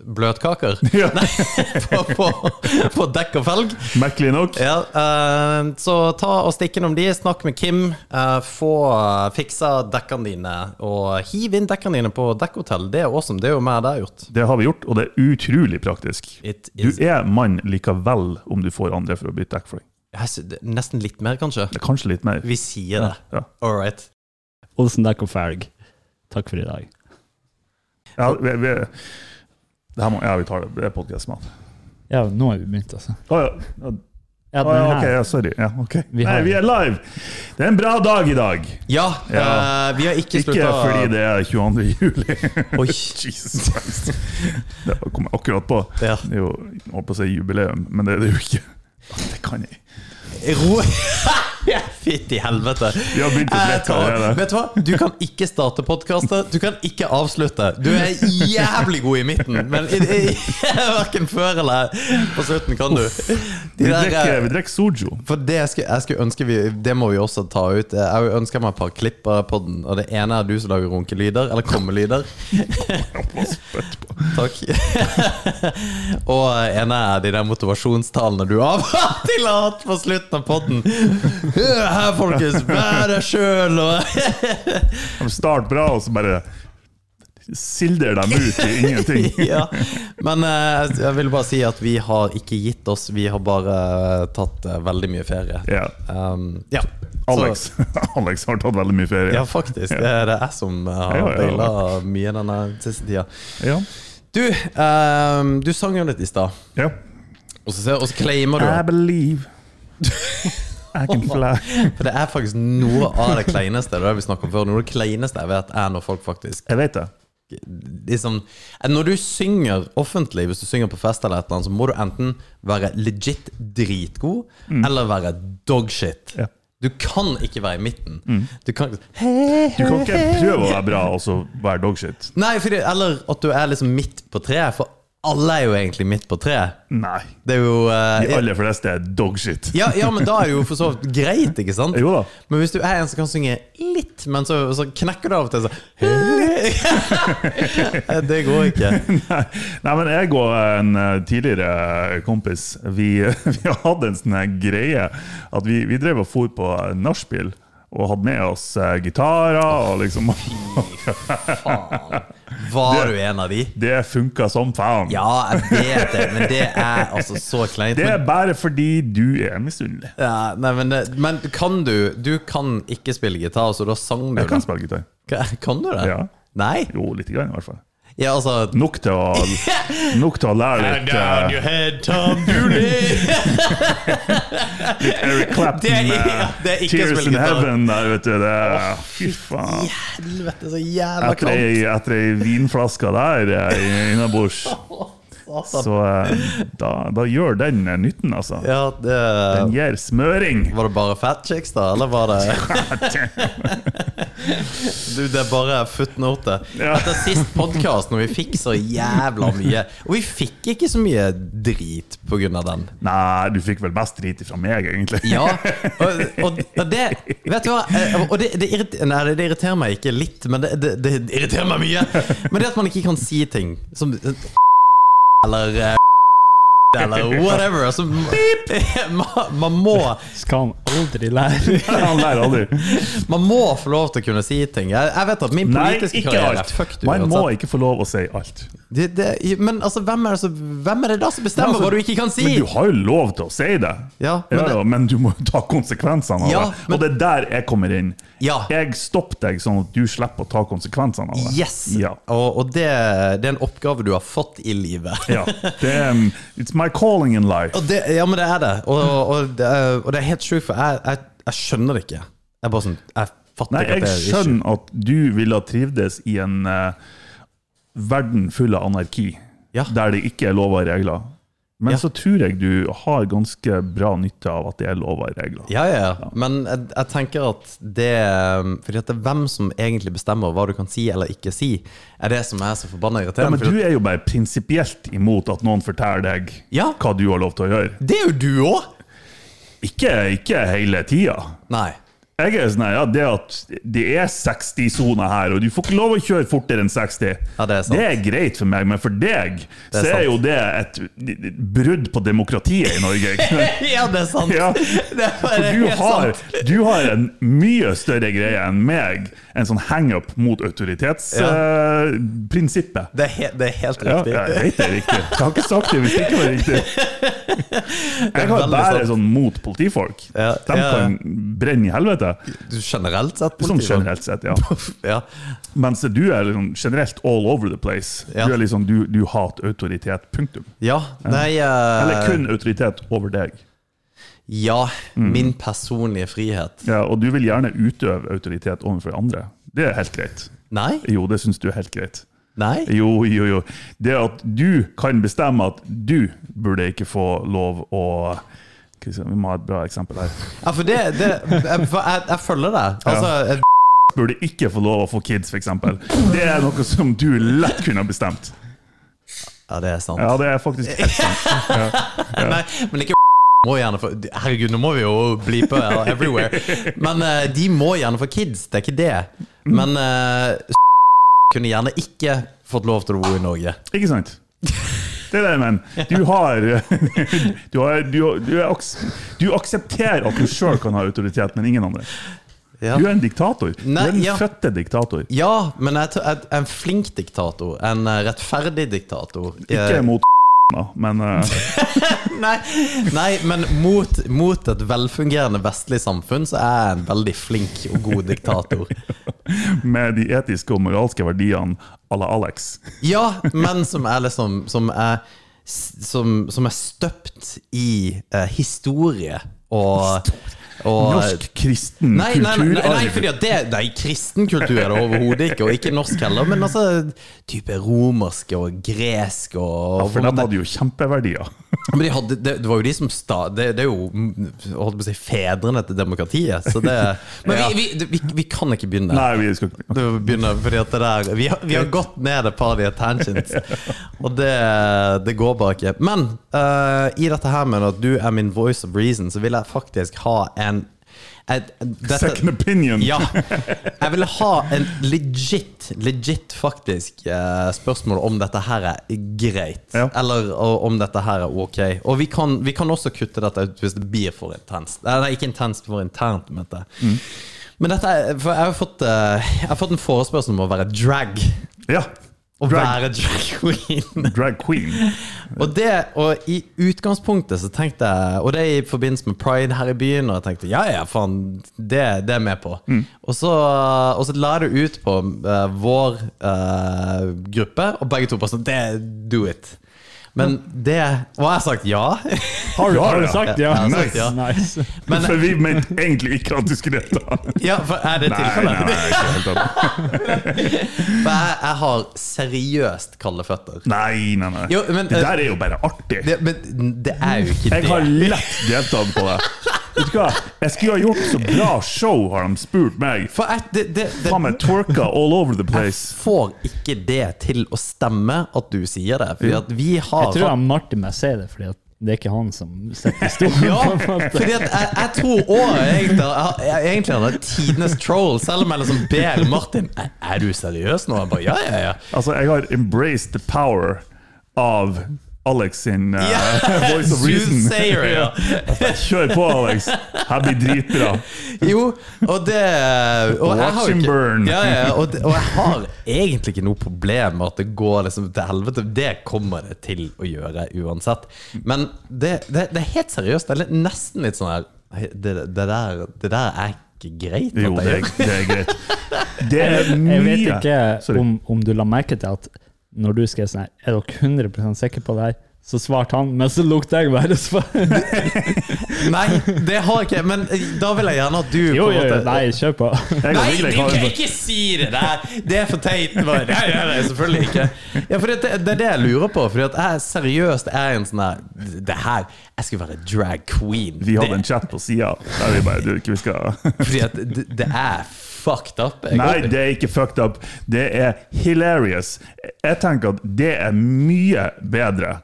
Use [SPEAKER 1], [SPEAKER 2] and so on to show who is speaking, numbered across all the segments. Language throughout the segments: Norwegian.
[SPEAKER 1] bløtkaker.
[SPEAKER 2] Ja.
[SPEAKER 1] Nei, på, på, på dekk og felg.
[SPEAKER 2] Merkelig nok.
[SPEAKER 1] Ja, eh, så ta og stikk innom de, snakk med Kim. eh, få eh, fiksa dekkene dine, og hiv inn dekkene dine på dekkhotell. Det er awesome. Det er jo mer det jeg har gjort.
[SPEAKER 2] Det har vi gjort, og det er utrolig praktisk.
[SPEAKER 1] It
[SPEAKER 2] Du
[SPEAKER 1] is-
[SPEAKER 2] er mann likevel om du får andre for å bytte dekk for deg.
[SPEAKER 1] Jeg sy- det- Nesten litt mer, kanskje.
[SPEAKER 2] Det er kanskje litt mer.
[SPEAKER 1] Vi sier det.
[SPEAKER 2] Ja.
[SPEAKER 1] All right.
[SPEAKER 3] Olsen Dekk og Ferg, takk for i dag.
[SPEAKER 2] Ja, vi, vi, det her må, ja, vi tar det. Det er podkastmat.
[SPEAKER 3] Ja, nå har vi begynt, altså.
[SPEAKER 2] Å ja. ja. Å,
[SPEAKER 3] Ja,
[SPEAKER 2] ja,
[SPEAKER 3] den
[SPEAKER 2] ok,
[SPEAKER 3] her.
[SPEAKER 2] ja, sorry. Ja, ok.
[SPEAKER 3] Vi har-
[SPEAKER 2] Nei, vi er live! Det er en bra dag i dag.
[SPEAKER 1] Ja,
[SPEAKER 2] Ja.
[SPEAKER 1] eh, vi har ikke
[SPEAKER 2] Ikke
[SPEAKER 1] slutta
[SPEAKER 2] fordi det er 22. juli.
[SPEAKER 1] Oi.
[SPEAKER 2] Jesus Christ. Det kom jeg akkurat på.
[SPEAKER 1] Ja.
[SPEAKER 2] Det er jo jeg holdt på å si jubileum, men det er det jo ikke. Det kan jeg.
[SPEAKER 1] Ro Fytti helvete.
[SPEAKER 2] Vi har begynt å
[SPEAKER 1] Jeg
[SPEAKER 2] drikke
[SPEAKER 1] tar-
[SPEAKER 2] allerede.
[SPEAKER 1] Vet du hva? Du kan ikke starte podkaster, du kan ikke avslutte. Du er jævlig god i midten, men i, i, verken før eller på slutten kan du. De
[SPEAKER 2] Vi
[SPEAKER 1] der,
[SPEAKER 2] drikker,
[SPEAKER 1] eh,
[SPEAKER 2] vi drikker sojo.
[SPEAKER 1] for det jeg skulle, jeg skulle ønske vi Det må vi også ta ut. Jeg ønsker meg et par klipp av podden, og det ene er du som lager runkelyder, eller kommelyder. Takk. og en er de der motivasjonstalene du av og til har hatt på slutten av podden. Her, folkens, vær deg sjøl, og
[SPEAKER 2] De starter bra, og så bare silder dem ut i ingenting.
[SPEAKER 1] ja. Men eh, jeg vil bare si at vi har ikke gitt oss, vi har bare tatt eh, veldig mye ferie.
[SPEAKER 2] Ja.
[SPEAKER 1] Um, ja.
[SPEAKER 2] Alex.
[SPEAKER 1] Så,
[SPEAKER 2] Alex har tatt veldig mye ferie.
[SPEAKER 1] ja, faktisk. Det er det jeg som eh, har
[SPEAKER 2] Ja, ja, ja.
[SPEAKER 1] baila mye denne siste tida.
[SPEAKER 2] Ja.
[SPEAKER 1] Du, ehm, du sang jo litt i stad,
[SPEAKER 2] Ja.
[SPEAKER 1] og så ser- og så claimer du
[SPEAKER 2] I believe I can fly.
[SPEAKER 1] For det er faktisk noe av det kleineste Det er det vi snakket om før Noe av det kleineste jeg vet er når folk faktisk
[SPEAKER 2] Jeg vet det.
[SPEAKER 1] liksom, Når du synger offentlig Hvis du synger på fest eller et eller annet Så må du enten være legit dritgod Eller være dogshit
[SPEAKER 2] Mm. Ja. Mm.
[SPEAKER 1] Du kan ikke være i midten Du kan ikke
[SPEAKER 2] Du kan ikke prøve å være bra og så være dogshit.
[SPEAKER 1] Nei, fordi, eller at du er liksom midt på treet For alle er jo egentlig midt på treet
[SPEAKER 2] Nei.
[SPEAKER 1] Det er jo eh,
[SPEAKER 2] De aller fleste er dogshit.
[SPEAKER 1] ja, ja, men da er det jo for så vidt greit, ikke sant?
[SPEAKER 2] Jo da.
[SPEAKER 1] Men hvis du er en som kan synge litt, men så, så knekker du av og til sånn Det går ikke.
[SPEAKER 2] Nei, Nei, men jeg og en eh, tidligere kompis Vi, vi hadde en sånn her greie At vi, vi drev og for på narspill Og hadde med oss eh, gitarer Og liksom
[SPEAKER 1] Var du en av de?
[SPEAKER 2] Det funket som faen
[SPEAKER 1] Ja, jeg vet det, men det er altså så kleint.
[SPEAKER 2] Det
[SPEAKER 1] Men,
[SPEAKER 2] er bare fordi du er misunnelig
[SPEAKER 1] ja, nei, men, det- men kan du Du kan ikke spille gitar, så da sang du
[SPEAKER 2] Jeg kan
[SPEAKER 1] det?
[SPEAKER 2] spille gitar
[SPEAKER 1] Ka- Kan du det?
[SPEAKER 2] Ja.
[SPEAKER 1] Nei?
[SPEAKER 2] Jo, litt grann i hvert fall
[SPEAKER 1] Ja, altså
[SPEAKER 2] Nok til å, nok til å lære litt eh,
[SPEAKER 1] head, Tom Dooley.
[SPEAKER 2] eh,
[SPEAKER 1] Det er-
[SPEAKER 2] Eric Clapton med
[SPEAKER 1] ja, det er ikke å
[SPEAKER 2] uh, Tears
[SPEAKER 1] spille
[SPEAKER 2] in
[SPEAKER 1] gitar.
[SPEAKER 2] Heaven der, vet du det, er- Fy faen
[SPEAKER 1] Helvete, så jævla
[SPEAKER 2] Etter ei,
[SPEAKER 1] klamt.
[SPEAKER 2] etter ei vinflaske der eh, innabords, så eh, da, da gjør den eh, nytten, altså.
[SPEAKER 1] Ja, det
[SPEAKER 2] Den gir smøring.
[SPEAKER 1] Var det bare fat chicks, da? Eller var det Du, det er bare footnote.
[SPEAKER 2] Ja.
[SPEAKER 1] Etter sist podkast, når vi fikk så jævla mye Og vi fikk ikke så mye drit på grunn av den.
[SPEAKER 2] Nei, du fikk vel mest drit fra meg, egentlig.
[SPEAKER 1] Ja, og, og, og det Vet du hva? eh, Og det, det, irriterer, nei, det irriterer meg ikke litt, men det, det, det irriterer meg mye. Men det at man ikke kan si ting som Eller eh, Eller whatever. Altså, man, man må
[SPEAKER 3] Skal han aldri lære?
[SPEAKER 2] Han lærer aldri.
[SPEAKER 1] Man må få lov til å kunne si ting. Jeg, jeg vet at min
[SPEAKER 2] Nei,
[SPEAKER 1] politiske
[SPEAKER 2] ikke
[SPEAKER 1] karriere
[SPEAKER 2] alt.
[SPEAKER 1] er altså. fucked
[SPEAKER 2] Man må
[SPEAKER 1] uansett.
[SPEAKER 2] ikke få lov å si alt.
[SPEAKER 1] Det, det, men altså, hvem er, det som- hvem er det da som bestemmer
[SPEAKER 2] Altså,
[SPEAKER 1] hva du ikke kan si?
[SPEAKER 2] Men du har jo lov til å si det.
[SPEAKER 1] Ja, men
[SPEAKER 2] men,
[SPEAKER 1] det-
[SPEAKER 2] ja, men du må jo ta konsekvensene av
[SPEAKER 1] Ja,
[SPEAKER 2] det.
[SPEAKER 1] men-
[SPEAKER 2] Og det er der jeg kommer inn.
[SPEAKER 1] Ja.
[SPEAKER 2] Jeg stopper deg, sånn at du slipper å ta konsekvensene av det.
[SPEAKER 1] Yes!
[SPEAKER 2] Ja.
[SPEAKER 1] Og, og det, det er en oppgave du har fått i livet.
[SPEAKER 2] ja. Det er, um, it's my calling in life.
[SPEAKER 1] Og det, ja, men det er det. Og,
[SPEAKER 2] Mm.
[SPEAKER 1] og, det, er, og det er helt sjukt, for jeg, jeg, jeg skjønner det ikke. Jeg er bare sånn Jeg fatter
[SPEAKER 2] Nei,
[SPEAKER 1] ikke at
[SPEAKER 2] jeg
[SPEAKER 1] det er issue.
[SPEAKER 2] skjønner at du ville ha trivdes i en eh, verden full av anarki,
[SPEAKER 1] Ja.
[SPEAKER 2] der det ikke er lover og regler. Men
[SPEAKER 1] Ja.
[SPEAKER 2] så tror jeg du har ganske bra nytte av at det er lover og regler.
[SPEAKER 1] Ja, ja, ja. Men jeg, jeg tenker at det Fordi at det er hvem som egentlig bestemmer hva du kan si eller ikke si, er det som er så forbanna
[SPEAKER 2] Ja,
[SPEAKER 1] irriterende.
[SPEAKER 2] men
[SPEAKER 1] fordi
[SPEAKER 2] du er jo bare prinsipielt imot at noen forteller deg
[SPEAKER 1] Ja.
[SPEAKER 2] hva du har lov til å gjøre.
[SPEAKER 1] at- det er jo du òg!
[SPEAKER 2] Ikke, ikke hele tida.
[SPEAKER 1] Nei.
[SPEAKER 2] Jeg er sånn her, ja, det at det er 60-sone her, og du får ikke lov å kjøre fortere enn 60.
[SPEAKER 1] Ja, det er sant.
[SPEAKER 2] greit for meg, men for deg
[SPEAKER 1] er
[SPEAKER 2] så er
[SPEAKER 1] sant.
[SPEAKER 2] jo det et brudd på demokratiet i Norge.
[SPEAKER 1] Ja, det er sant!
[SPEAKER 2] Ja.
[SPEAKER 1] Det er, det
[SPEAKER 2] For
[SPEAKER 1] er
[SPEAKER 2] du
[SPEAKER 1] helt
[SPEAKER 2] har,
[SPEAKER 1] sant.
[SPEAKER 2] du har en mye større greie enn meg, en sånn hang-up mot autoritetsprinsippet.
[SPEAKER 1] Det er, he, det er helt
[SPEAKER 2] Ja,
[SPEAKER 1] riktig.
[SPEAKER 2] jeg vet det er riktig. Jeg har ikke sagt det hvis det ikke var riktig. Jeg har
[SPEAKER 1] veldig
[SPEAKER 2] bare
[SPEAKER 1] sant.
[SPEAKER 2] sånn mot politifolk.
[SPEAKER 1] Ja,
[SPEAKER 2] De
[SPEAKER 1] ja, ja.
[SPEAKER 2] kan brenne i helvete,
[SPEAKER 1] Du, generelt sett?
[SPEAKER 2] sånn
[SPEAKER 1] politifolk.
[SPEAKER 2] generelt sett, ja.
[SPEAKER 1] Ja.
[SPEAKER 2] Mens du er liksom generelt all over the place.
[SPEAKER 1] Ja.
[SPEAKER 2] Du er liksom, du, du hater autoritet, punktum.
[SPEAKER 1] ja. Nei eh,
[SPEAKER 2] Eller kun Mm. autoritet over deg.
[SPEAKER 1] Ja. Min personlige frihet.
[SPEAKER 2] Ja, og du vil gjerne utøve autoritet overfor andre. Det er helt greit.
[SPEAKER 1] Nei?
[SPEAKER 2] Jo, det syns du er helt greit.
[SPEAKER 1] Nei?
[SPEAKER 2] Jo, jo, jo. Det at du kan bestemme at du burde ikke få lov å Hva skal jeg si, Vi må ha et bra eksempel her.
[SPEAKER 1] Ja, for det, det jeg, for jeg, jeg følger deg. Altså, jeg-
[SPEAKER 2] Burde ikke få lov å få kids, f.eks. Det er noe som du lett kunne ha bestemt.
[SPEAKER 1] ja, det er sant.
[SPEAKER 2] Ja, det er faktisk helt sant.
[SPEAKER 1] Nei, men ikke må gjerne få Herregud, nå må vi jo bli på everywhere. Men eh, de må gjerne få kids, det er ikke det.
[SPEAKER 2] Mm.
[SPEAKER 1] Men eh, kunne gjerne ikke fått lov til å bo i Norge.
[SPEAKER 2] Ikke sant? Det er det jeg mener. Du har Du, har, du, du, er aks, du aksepterer at du sjøl kan ha autoritet, men ingen andre.
[SPEAKER 1] Ja,
[SPEAKER 2] Du er en diktator. Du
[SPEAKER 1] Nei,
[SPEAKER 2] er en
[SPEAKER 1] ja.
[SPEAKER 2] fødte diktator.
[SPEAKER 1] ja men jeg tror- jeg- jeg er en flink diktator. En eh, rettferdig diktator.
[SPEAKER 2] Ikke
[SPEAKER 1] Eh,
[SPEAKER 2] mot da, men eh,
[SPEAKER 1] nei, nei, men mot, mot et velfungerende vestlig samfunn så er jeg en veldig flink og god diktator.
[SPEAKER 2] med de etiske og moralske verdiene à la Alex.
[SPEAKER 1] Ja, men som er liksom Som er, som, som er støpt i eh, historie og, og
[SPEAKER 2] Norsk kristen
[SPEAKER 1] Nei, nei, nei, nei, nei,
[SPEAKER 2] kulturarv.
[SPEAKER 1] fordi at det, nei, kristen kultur er det overhodet ikke, og ikke norsk heller. Men altså type romersk og gresk og
[SPEAKER 2] for de hadde jo kjempeverdier.
[SPEAKER 1] Men de hadde, det, det var jo de som sta, det, det er jo mm, holdt på å si, fedrene til demokratiet. Så det, men
[SPEAKER 2] Ja.
[SPEAKER 1] vi, vi, vi, vi kan ikke begynne.
[SPEAKER 2] Nei, vi skal ikke
[SPEAKER 1] Du begynner fordi at det der Vi har, vi har gått ned et par av de tangents, og det, det går bare ikke. Men eh, i dette her med at du er min voice of reason, så vil jeg faktisk ha en et, dette-
[SPEAKER 2] Second opinion!
[SPEAKER 1] Ja. Ah, Jeg ville ha en legit, legit faktisk eh, spørsmål om dette her er greit.
[SPEAKER 2] Ja.
[SPEAKER 1] Eller og, om dette her er ok. Og vi kan, vi kan også kutte dette ut hvis det blir for intenst. Nei, nei, ikke intenst, for internt, mente jeg.
[SPEAKER 2] Mm.
[SPEAKER 1] Men dette er, for jeg har, fått, eh, jeg har fått en forespørsel om å være drag.
[SPEAKER 2] ja.
[SPEAKER 1] Å
[SPEAKER 2] Drag,
[SPEAKER 1] være drag queen.
[SPEAKER 2] drag queen.
[SPEAKER 1] Og, det, og i utgangspunktet så tenkte jeg Og det er i forbindelse med Pride her i byen, og jeg tenkte ja, ja, faen, det, det er jeg med på.
[SPEAKER 2] Mm.
[SPEAKER 1] Og, så, og så la jeg det ut på eh, vår eh, gruppe, og begge to bare sånn det, Do it. Men det Og jeg har sagt ja.
[SPEAKER 3] Har du,
[SPEAKER 2] Ja,
[SPEAKER 3] har du
[SPEAKER 2] ja.
[SPEAKER 3] sagt
[SPEAKER 1] Ja,
[SPEAKER 3] ja?
[SPEAKER 1] jeg har sagt ja.
[SPEAKER 3] Nice.
[SPEAKER 1] Men,
[SPEAKER 2] for vi mente egentlig ikke at du skulle delta.
[SPEAKER 1] ja, for er det
[SPEAKER 2] Nei, nei,
[SPEAKER 1] tilfellet?
[SPEAKER 2] nei, ikke helt sant.
[SPEAKER 1] For jeg, jeg har seriøst kalde føtter.
[SPEAKER 2] nei, nei, nei.
[SPEAKER 1] Jo, men,
[SPEAKER 2] det
[SPEAKER 1] eh,
[SPEAKER 2] der er jo bare artig.
[SPEAKER 1] Det, men det er jo ikke det.
[SPEAKER 2] Jeg har lett deltatt på det. Vet du hva? Jeg skulle ha gjort så bra show, har de spurt meg.
[SPEAKER 1] For jeg, det, det, det,
[SPEAKER 2] Faen meg twerka all over the place.
[SPEAKER 1] får ikke det til å stemme at du sier det. Fordi at vi har
[SPEAKER 3] Jeg tror han Martin meg sier det, fordi at det er ikke han som setter historien.
[SPEAKER 1] ja,
[SPEAKER 3] på en måte.
[SPEAKER 1] fordi at jeg, jeg tror òg egentlig, jeg- jeg- egentlig han er tidenes troll, selv om jeg liksom ber Martin "Er- Er du seriøs nå? Jeg bare, ja, ja, ja.
[SPEAKER 2] Altså, jeg har embraced the power av Alex sin eh,
[SPEAKER 1] Ja,
[SPEAKER 2] Voice of Reason.
[SPEAKER 1] Soothsayer, ja.
[SPEAKER 2] Kjør på, Alex. Her blir dritbra.
[SPEAKER 1] Jo, og det og jeg har jo
[SPEAKER 2] Watch him
[SPEAKER 1] ikke-
[SPEAKER 2] burn.
[SPEAKER 1] Ja, ja, og, det, og jeg har egentlig ikke noe problem med at det går liksom til helvete. Det kommer det til å gjøre uansett. Men det, det, det er helt seriøst. Det er litt- nesten litt sånn her "Hei, det, det, der, det der er ikke greit. at
[SPEAKER 2] Jo,
[SPEAKER 1] jeg
[SPEAKER 2] det
[SPEAKER 1] gjør."
[SPEAKER 2] er, det er greit. Det er mye
[SPEAKER 3] Jeg vet ikke
[SPEAKER 2] Sorry.
[SPEAKER 3] om, om du la merke til at når du skrev sånn her, er dere 100 sikre på det her? Så svarte han, men så lukta jeg bare svar.
[SPEAKER 1] Nei, det har jeg ikke. Men eh, da vil jeg gjerne at du
[SPEAKER 3] Jo,
[SPEAKER 1] på
[SPEAKER 3] jo,
[SPEAKER 1] en måte
[SPEAKER 3] nei, kjør på.
[SPEAKER 2] Jeg kan
[SPEAKER 1] Nei,
[SPEAKER 2] virkelig
[SPEAKER 1] du
[SPEAKER 2] ikke ha
[SPEAKER 1] kan
[SPEAKER 2] det.
[SPEAKER 1] ikke si det der! Det er for teit. Bare. Nei, nei, nei, selvfølgelig ikke. Ja, for det, det er det jeg lurer på. Fordi at jeg seriøst er en sånn her Det her Jeg skulle være drag queen.
[SPEAKER 2] Vi hadde
[SPEAKER 1] det,
[SPEAKER 2] en chat på sida der vi bare du, ikke vi skal
[SPEAKER 1] Fordi at det, det er fucked up. Jeg-
[SPEAKER 2] Nei, det er ikke fucked up. Det er hilarious. Jeg tenker at det er mye bedre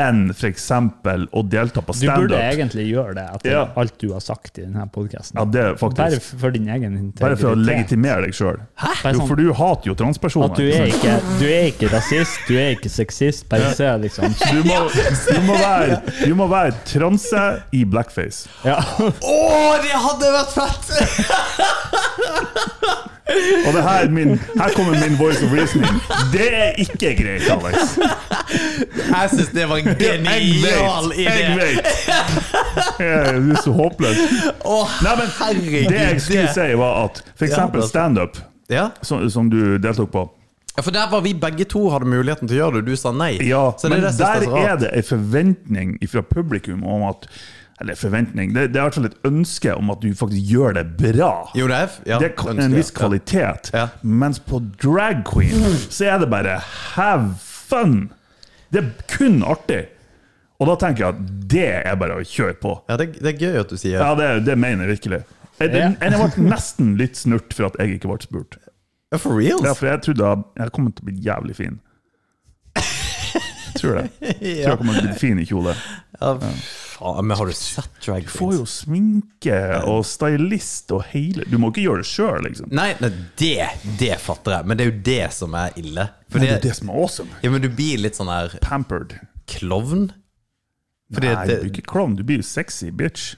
[SPEAKER 2] enn f.eks. å delta på
[SPEAKER 3] Du burde
[SPEAKER 2] standup.
[SPEAKER 3] egentlig gjøre det etter
[SPEAKER 2] Ja.
[SPEAKER 3] alt du har sagt i denne podkasten.
[SPEAKER 2] Ja, det er faktisk-
[SPEAKER 3] Bare f- for din egen integritet.
[SPEAKER 2] Bare for å legitimere deg sjøl.
[SPEAKER 3] Bare sånn
[SPEAKER 2] For du hater jo transpersoner.
[SPEAKER 3] At du er,
[SPEAKER 2] ikke sant?
[SPEAKER 3] ikke, du er ikke rasist, du er ikke sexist. Bare se, liksom.
[SPEAKER 2] Du må, du må være, du må være transe i blackface.
[SPEAKER 3] Ja.
[SPEAKER 1] Å, det hadde vært fett!
[SPEAKER 2] Og det her, er min, her kommer min voice of reasoning. Det er ikke greit, Alex.
[SPEAKER 1] Jeg syns det var en genial
[SPEAKER 2] Jeg
[SPEAKER 1] idé.
[SPEAKER 2] vet. Eh, Du er så håpløs.
[SPEAKER 1] Å,
[SPEAKER 2] Nei, men
[SPEAKER 1] herregud.
[SPEAKER 2] Det jeg skulle si, var at f.eks.
[SPEAKER 1] Ja, altså.
[SPEAKER 2] standup,
[SPEAKER 1] Ja.
[SPEAKER 2] som, som du deltok på
[SPEAKER 1] Ja, For der var vi begge to hadde muligheten til å gjøre det, du sa nei.
[SPEAKER 2] Ja,
[SPEAKER 1] Så det
[SPEAKER 2] men
[SPEAKER 1] er det jeg synes
[SPEAKER 2] der
[SPEAKER 1] er så rart.
[SPEAKER 2] er det en forventning fra publikum om at Eller forventning, det, det er i hvert fall et ønske om at du faktisk gjør det bra.
[SPEAKER 1] Jo, det er, ja,
[SPEAKER 2] det er en
[SPEAKER 1] ønsker,
[SPEAKER 2] viss
[SPEAKER 1] ja.
[SPEAKER 2] kvalitet.
[SPEAKER 1] Ja. Mm.
[SPEAKER 2] Mens på drag queen så er det bare have fun! Det er kun artig. Og da tenker jeg at det er bare å kjøre på.
[SPEAKER 1] Ja, det, det er gøy at du sier
[SPEAKER 2] Ja, det, det mener jeg virkelig. Jeg,
[SPEAKER 3] Ja.
[SPEAKER 2] jeg, jeg ble nesten litt snurt for at jeg ikke ble spurt.
[SPEAKER 1] Ja, For reals?
[SPEAKER 2] Ja, for jeg trodde jeg, jeg kom til å bli jævlig fin. Tror det. Tror jeg kommer til å bli fin i kjole.
[SPEAKER 1] Ja, faen, men har du sett drag
[SPEAKER 2] Du får
[SPEAKER 1] queens?
[SPEAKER 2] jo sminke og stylist og hele Du må ikke gjøre det sjøl, liksom.
[SPEAKER 1] Nei, nei det, det fatter jeg, men det er jo det som er ille.
[SPEAKER 2] Men det er jo
[SPEAKER 1] Fordi,
[SPEAKER 2] det som er awesome.
[SPEAKER 1] ja, men du blir litt sånn her
[SPEAKER 2] Pampered.
[SPEAKER 1] klovn. Fordi
[SPEAKER 2] Nei,
[SPEAKER 1] at
[SPEAKER 2] du
[SPEAKER 1] det-
[SPEAKER 2] blir ikke klovn, du blir jo sexy bitch.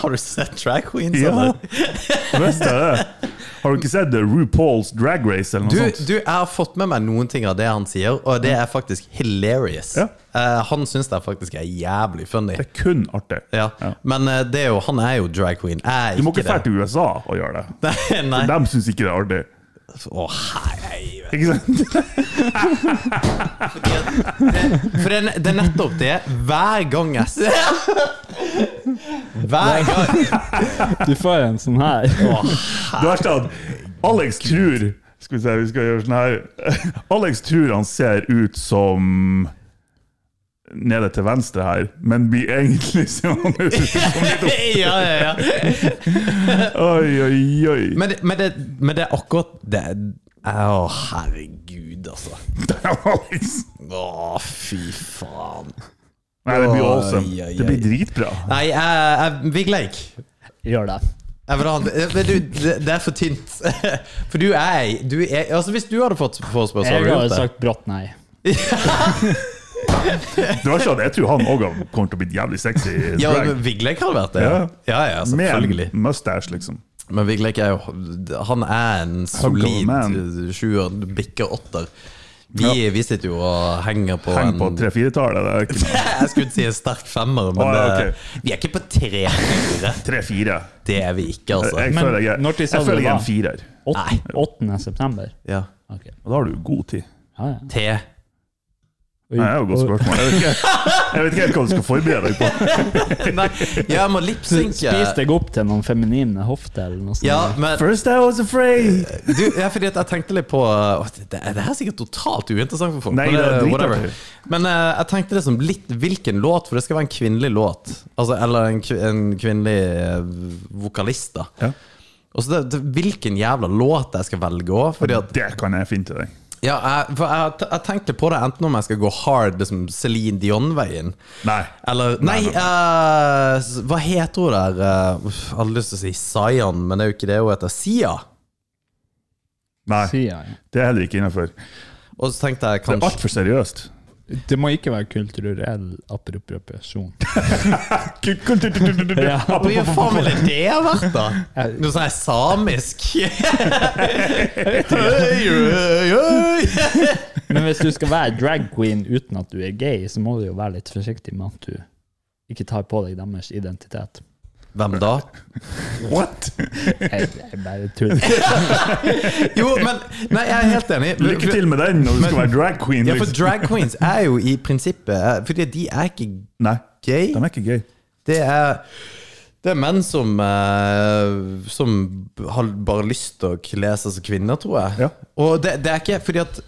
[SPEAKER 1] Har du sett drag queens?
[SPEAKER 2] Ja,
[SPEAKER 1] eller?
[SPEAKER 2] visst er det. Har du ikke sett det? RuPaul's Drag Race eller
[SPEAKER 1] Du,
[SPEAKER 2] noe sånt? Mm.
[SPEAKER 1] du, jeg har fått med meg noen ting av det han sier, og det er faktisk hilarious.
[SPEAKER 2] Ja.
[SPEAKER 1] Eh, han syns det faktisk er jævlig funny.
[SPEAKER 2] Det er kun artig.
[SPEAKER 1] Ja.
[SPEAKER 2] Ja.
[SPEAKER 1] Men eh, det er jo, han er jo drag queen. Jeg er
[SPEAKER 2] Du må ikke
[SPEAKER 1] ikke
[SPEAKER 2] dra
[SPEAKER 1] det.
[SPEAKER 2] til USA og gjøre det.
[SPEAKER 1] Nei, nei.
[SPEAKER 2] De syns ikke det er artig.
[SPEAKER 1] Å, hei,
[SPEAKER 2] Ikke sant?
[SPEAKER 1] For det, er- det er nettopp det. Hver gang jeg ser Hver gang
[SPEAKER 3] Du får en sånn her.
[SPEAKER 2] Det verste er at Alex tror Skal vi se, vi skal gjøre sånn her Alex tror han ser ut som Nede til venstre her, men blir egentlig ser han ut som litt opp.
[SPEAKER 1] Ja, ja, ja.
[SPEAKER 2] Oi, oi, oi.
[SPEAKER 1] Men, det- men, det, men det er akkurat det Å, herregud, altså.
[SPEAKER 2] Alex.
[SPEAKER 1] Å, fy faen.
[SPEAKER 2] Nei, det blir
[SPEAKER 1] Oi, oi,
[SPEAKER 2] awesome.
[SPEAKER 1] oi.
[SPEAKER 2] Det blir dritbra.
[SPEAKER 1] Nei, jeg, jeg Big Lake.
[SPEAKER 3] Gjør det.
[SPEAKER 1] Jeg vil ha en, men du, det, det er for tynt. For du er, du er Altså, hvis du hadde fått forespørsel,
[SPEAKER 3] Jeg
[SPEAKER 1] hadde du
[SPEAKER 3] har
[SPEAKER 1] gjort det?
[SPEAKER 3] sagt brått nei.
[SPEAKER 2] Det verste er at jeg tror han òg kommer til å bli jævlig sexy i
[SPEAKER 1] Ja,
[SPEAKER 2] drag.
[SPEAKER 1] men Vigleik hadde vært det.
[SPEAKER 2] Ja.
[SPEAKER 1] Ja, ja,
[SPEAKER 2] Med
[SPEAKER 1] selvfølgelig.
[SPEAKER 2] en mustache, liksom.
[SPEAKER 1] Men Vigleik er jo Han er en solid
[SPEAKER 2] man.
[SPEAKER 1] sjuer, bikker åtter. Vi, vi sitter jo og henger på
[SPEAKER 2] Heng på
[SPEAKER 1] en
[SPEAKER 2] tre-fire-tallet. det er ikke noe.
[SPEAKER 1] Jeg skulle si en sterk femmer, men
[SPEAKER 2] Å, ja,
[SPEAKER 1] eh,
[SPEAKER 2] ok.
[SPEAKER 1] vi er ikke på tre.
[SPEAKER 2] Tre-fire.
[SPEAKER 1] Det er vi ikke, altså.
[SPEAKER 2] Jeg
[SPEAKER 3] Men
[SPEAKER 2] føler jeg,
[SPEAKER 3] når
[SPEAKER 2] er-
[SPEAKER 3] til sa
[SPEAKER 2] jeg,
[SPEAKER 3] du
[SPEAKER 2] føler jeg er
[SPEAKER 3] det
[SPEAKER 2] en firer.
[SPEAKER 1] Nei.
[SPEAKER 3] 8. 8. september.
[SPEAKER 1] Ja.
[SPEAKER 3] Ok.
[SPEAKER 2] Og da har du god tid.
[SPEAKER 3] Ja, ja.
[SPEAKER 1] T.
[SPEAKER 2] Nei, det er jo et godt spørsmål. Jeg vet, ikke, jeg vet ikke helt hva du skal forberede deg på.
[SPEAKER 1] Nei, ja, jeg må lipsynke.
[SPEAKER 3] Spis deg opp til noen feminine hofter eller noe sånt.
[SPEAKER 1] Ja, men
[SPEAKER 2] First I was afraid
[SPEAKER 1] du, ja, fordi at jeg tenkte litt på å, det, det her er sikkert totalt uinteressant for folk.
[SPEAKER 2] Nei,
[SPEAKER 1] men,
[SPEAKER 2] det er
[SPEAKER 1] eh,
[SPEAKER 2] dritartig.
[SPEAKER 1] whatever. men eh, jeg tenkte liksom litt hvilken låt, for det skal være en kvinnelig låt. Altså, eller en, kvi- en kvinnelig eh, vokalist, da.
[SPEAKER 2] Ja.
[SPEAKER 1] Og så det, det, Hvilken jævla låt jeg skal velge òg. Fordi at
[SPEAKER 2] Det kan jeg finne til deg.
[SPEAKER 1] ja, jeg, for jeg, jeg har tenkt litt på det, enten om jeg skal gå hard liksom Celine Dion-veien.
[SPEAKER 2] Nei.
[SPEAKER 1] Eller Nei,
[SPEAKER 2] Nei, nei,
[SPEAKER 1] eh, s- hva heter hun der? Eh, uff, jeg hadde lyst til å si Sayan, men det er jo ikke det hun heter. Sia.
[SPEAKER 2] Nei,
[SPEAKER 3] Sier jeg.
[SPEAKER 2] det er heller ikke innafor.
[SPEAKER 1] Og så tenkte jeg
[SPEAKER 2] Det er
[SPEAKER 1] kanskje
[SPEAKER 2] altfor seriøst.
[SPEAKER 3] Det må ikke være kulturell appropriasjon.
[SPEAKER 2] Ja.
[SPEAKER 1] Hvor mye faen ville det ha vært, da? Noe sånn her samisk? Øy, øy, øy.
[SPEAKER 3] Men hvis du skal være drag queen uten at du er gay, så må du jo være litt forsiktig med at du ikke tar på deg deres identitet.
[SPEAKER 1] Hvem da?
[SPEAKER 2] What?
[SPEAKER 3] Jeg, jeg bare tuller.
[SPEAKER 1] Jo, men Nei, jeg er helt enig.
[SPEAKER 2] Lykke til med den når du skal være drag queen.
[SPEAKER 1] Ja, for
[SPEAKER 2] Liksom.
[SPEAKER 1] drag queens er jo i prinsippet eh, Fordi de er ikke
[SPEAKER 2] Nei,
[SPEAKER 1] gay.
[SPEAKER 2] den er ikke gøy.
[SPEAKER 1] Det er, det er menn som eh, Som har bare lyst til å kle seg som kvinner, tror jeg.
[SPEAKER 2] Ja.
[SPEAKER 1] Og det, det er ikke fordi at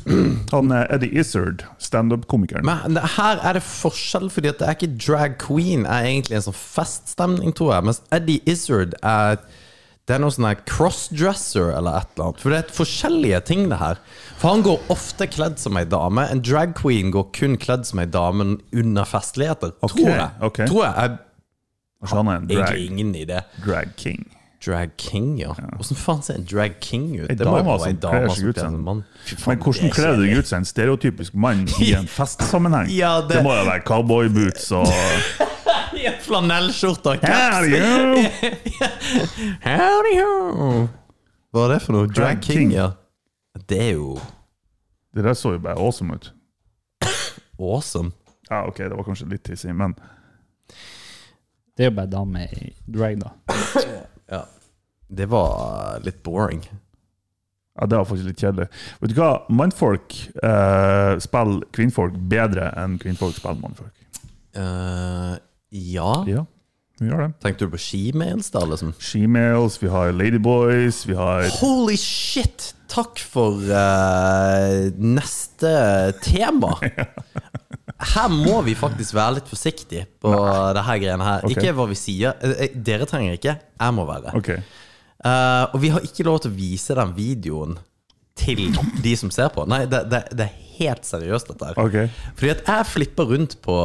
[SPEAKER 2] Han er Eddie Izzard, standup-komikeren.
[SPEAKER 1] Men det- her er det forskjell, fordi at det er ikke drag queen er egentlig en sånn feststemning, tror jeg. Mens Eddie Izzard er det er noe sånn her crossdresser eller et eller annet. For det er forskjellige ting, det her. For han går ofte kledd som ei dame. En drag queen går kun kledd som ei dame under festligheter.
[SPEAKER 2] Ok,
[SPEAKER 1] tror jeg.
[SPEAKER 2] ok.
[SPEAKER 1] Tror jeg. jeg
[SPEAKER 2] Altså, han er en
[SPEAKER 1] egentlig
[SPEAKER 2] drag,
[SPEAKER 1] ingen i det.
[SPEAKER 2] drag king.
[SPEAKER 1] Drag king, ja. Åssen faen ser en drag king ut?
[SPEAKER 2] Ei
[SPEAKER 1] Det må jo
[SPEAKER 2] dame
[SPEAKER 1] være ei
[SPEAKER 2] som
[SPEAKER 1] dame
[SPEAKER 2] kler
[SPEAKER 1] som
[SPEAKER 2] seg ut
[SPEAKER 1] kler som
[SPEAKER 2] som-
[SPEAKER 1] mann. Fy faen,
[SPEAKER 2] Men hvordan
[SPEAKER 1] det er
[SPEAKER 2] kler du
[SPEAKER 1] kjedelig.
[SPEAKER 2] deg ut som en stereotypisk mann i en festsammenheng?
[SPEAKER 1] Ja, det-
[SPEAKER 2] det... må jo være cowboyboots og
[SPEAKER 1] I en flanellskjorte og caps.
[SPEAKER 2] Hell yeah!
[SPEAKER 1] Howdy ho! Hva er det for noe? Drag
[SPEAKER 2] Drag
[SPEAKER 1] King,
[SPEAKER 2] King.
[SPEAKER 1] ja. Det er jo
[SPEAKER 2] Det der så jo bare awesome ut.
[SPEAKER 1] awesome.
[SPEAKER 2] Ja, ok, det var kanskje litt tissig, men
[SPEAKER 3] Det er jo bare damer i drag, da.
[SPEAKER 1] Ja. Det var litt boring.
[SPEAKER 2] ja, det var faktisk litt kjedelig. Vet du hva? Mannfolk eh, spiller kvinnfolk bedre enn kvinnfolk spiller mannfolk.
[SPEAKER 1] Eh, ja.
[SPEAKER 2] Ja, vi gjør det.
[SPEAKER 1] Tenkte du på skimails, da? liksom?
[SPEAKER 2] Shemales, vi har Ladyboys, vi har
[SPEAKER 1] Holy shit! Takk for eh, neste tema. Her må vi faktisk være litt forsiktige på det her greiene her.
[SPEAKER 2] Ok.
[SPEAKER 1] Ikke hva vi sier. Eh, eh, Dere trenger ikke. Jeg må være.
[SPEAKER 2] Ok.
[SPEAKER 1] Eh, og vi har ikke lov til å vise den videoen til de som ser på. Nei, det, det, det er helt seriøst, dette her.
[SPEAKER 2] Ok.
[SPEAKER 1] Fordi at jeg flipper rundt på,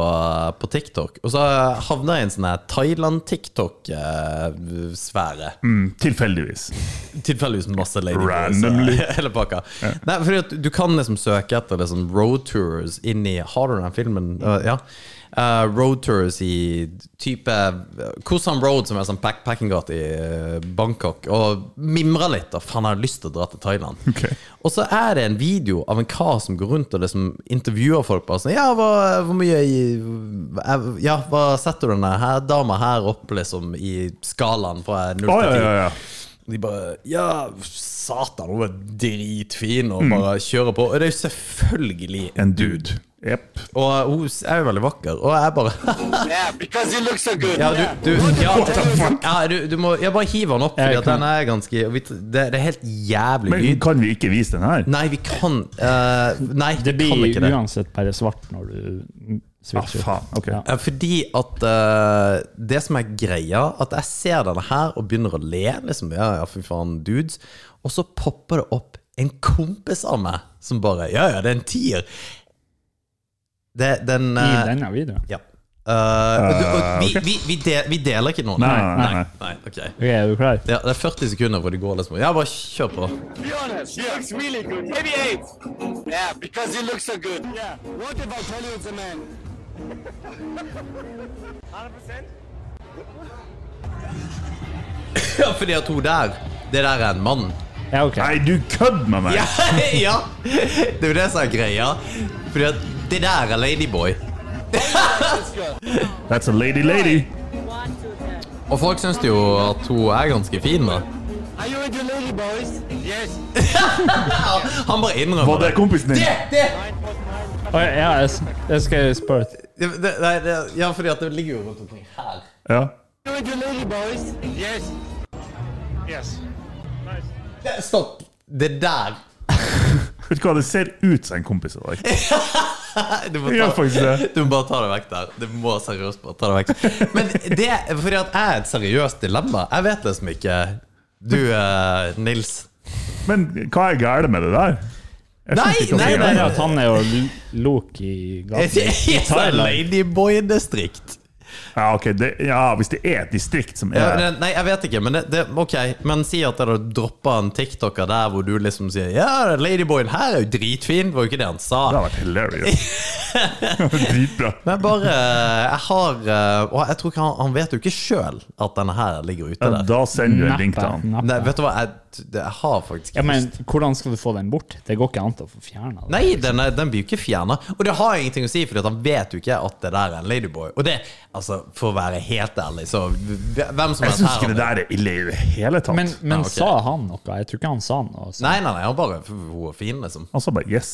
[SPEAKER 1] på TikTok, og så havner jeg i en sånn her eh, Thailand-TikTok-sfære.
[SPEAKER 2] Mm, tilfeldigvis.
[SPEAKER 1] Tilfeldigvis masse lady
[SPEAKER 2] Randomly.
[SPEAKER 1] boys, eh, Hele pakka. Nei, fordi at du kan liksom søke etter liksom road tours inn i Har du den filmen? Uh, ja. Eh, road tours i type Koh Sam Road, som er sånn backpacking-gate i eh, Bangkok, og mimrer litt. Da. Faen, jeg har lyst til å dra til Thailand.
[SPEAKER 2] Ok.
[SPEAKER 1] Og så er det en video av en kar som går rundt og liksom intervjuer folk. Bare sånn, ja, hva, hvor mye i- eh, Ja, hva setter du denne her dama her opp liksom, i skalaen fra 0 til 10?
[SPEAKER 2] Å, ja, ja, ja.
[SPEAKER 1] De bare Ja, satan, hun er dritfin, og bare
[SPEAKER 3] Mm.
[SPEAKER 1] kjører på. Og det er jo selvfølgelig
[SPEAKER 2] En dude. Jepp.
[SPEAKER 1] Og eh, hun er jo veldig vakker, og jeg bare
[SPEAKER 4] Yeah, because he looks so good.
[SPEAKER 1] Ja, du, du, ja,
[SPEAKER 2] What the fuck?
[SPEAKER 1] ja du, du må Jeg bare hiver den opp,
[SPEAKER 3] Jeg
[SPEAKER 1] fordi at
[SPEAKER 3] kan-
[SPEAKER 1] den er ganske og vi- Det, det er helt jævlig
[SPEAKER 2] Men
[SPEAKER 1] lyd.
[SPEAKER 2] kan vi ikke vise den her?
[SPEAKER 1] Nei, vi kan eh, Nei,
[SPEAKER 3] Det
[SPEAKER 1] vi kan
[SPEAKER 3] blir
[SPEAKER 1] ikke det.
[SPEAKER 3] uansett bare svart når du switcher.
[SPEAKER 2] Ah, faen, ok.
[SPEAKER 3] Ja.
[SPEAKER 1] Ja, Fordi at eh, det som er greia, at jeg ser denne her og begynner å le, liksom, ja, ja, fy faen, dudes, og så popper det opp en kompis av meg som bare, ja, ja, det er en tier. Det, den...
[SPEAKER 3] I
[SPEAKER 1] eh,
[SPEAKER 3] denne videoen.
[SPEAKER 1] Ja. Eh, og du, og vi, vi, vi, de, vi deler ikke noen.
[SPEAKER 2] Eh, Nei, nei, nei.
[SPEAKER 1] Nei, ok.
[SPEAKER 3] Ok, er du klar?
[SPEAKER 1] Ja, det er 40 sekunder hvor de går liksom. Ja, bare kjør på.
[SPEAKER 4] Be honest, he looks really good. Maybe eight. Yeah, because he looks so good. Yeah. What if I tell you it's a man? 100%?
[SPEAKER 1] Ja, fordi at hun der, det der er en mann.
[SPEAKER 3] Ja, ok.
[SPEAKER 2] Nei, du kødder med meg!
[SPEAKER 1] Ja, ja. Det er jo det som er greia. Fordi at det der er Ladyboy.
[SPEAKER 2] That's a lady lady!
[SPEAKER 5] One, two, three.
[SPEAKER 1] Og folk syns jo at hun er ganske fin, da.
[SPEAKER 4] Are you into lady boys? Yes.
[SPEAKER 1] Han bare innrømmer
[SPEAKER 2] Var det kompisen din?
[SPEAKER 3] Oi, ja, jeg, s- jeg skal spørre
[SPEAKER 1] Det, det, nei, det, ja, fordi at det ligger jo rundt omkring her.
[SPEAKER 2] Ja.
[SPEAKER 4] Are you into lady boys? Yes. Yes.
[SPEAKER 1] Det- Stopp. Det der
[SPEAKER 2] Vet du hva, det ser ut som en kompis av deg.
[SPEAKER 1] du må,
[SPEAKER 2] Det gjør faktisk det.
[SPEAKER 1] du må bare ta det vekk der. Du må seriøst bare ta det vekk. Men det fordi at jeg er et seriøst dilemma. Jeg vet liksom ikke Du, eh, Nils.
[SPEAKER 2] Men hva er gærent med det der? Jeg
[SPEAKER 1] Nei,
[SPEAKER 2] skjønner ikke hva
[SPEAKER 1] nei,
[SPEAKER 2] som er
[SPEAKER 1] nei,
[SPEAKER 2] gærent.
[SPEAKER 3] Det er at han er jo l- Luke i
[SPEAKER 1] Jeg
[SPEAKER 3] gaten.
[SPEAKER 1] er sånn Ladyboy-distrikt.
[SPEAKER 2] Ja, ok, det, ja, hvis det er et distrikt som
[SPEAKER 1] Ja,
[SPEAKER 2] er
[SPEAKER 1] det, nei, jeg vet ikke, men det, det, ok Men si at jeg da droppa en TikToker der hvor du liksom sier Ja, Ladyboyen her er jo dritfin. Det var jo ikke det han sa.
[SPEAKER 2] Det hadde vært hilarious. Dritbra.
[SPEAKER 1] Men bare Jeg har eh, Og jeg tror ikke han, han vet jo ikke sjøl at denne her ligger ute
[SPEAKER 2] Ja,
[SPEAKER 1] der.
[SPEAKER 2] Da sender du en link til
[SPEAKER 3] Nappa,
[SPEAKER 2] han.
[SPEAKER 1] Nei,
[SPEAKER 3] nappa.
[SPEAKER 1] vet du hva, jeg t- det- Jeg har faktisk ikke
[SPEAKER 3] Ja, men
[SPEAKER 1] lyst.
[SPEAKER 3] hvordan skal du få den bort? Det går ikke an til å få fjerna den.
[SPEAKER 1] Nei, den, er, den blir jo ikke fjerna. Og det har ingenting å si, for han vet jo ikke at det der er en ladyboy. Og det, altså, for å være helt ærlig, så hvem som
[SPEAKER 2] Jeg
[SPEAKER 1] helst
[SPEAKER 2] syns ikke
[SPEAKER 1] har
[SPEAKER 2] det der er ille i det hele tatt.
[SPEAKER 3] Men, men
[SPEAKER 1] Ja, ok.
[SPEAKER 3] sa han noe? Jeg tror ikke han sa noe. Så.
[SPEAKER 1] Nei, nei, nei, han bare Hun er fin, liksom.
[SPEAKER 2] Han sa Altså, bare yes.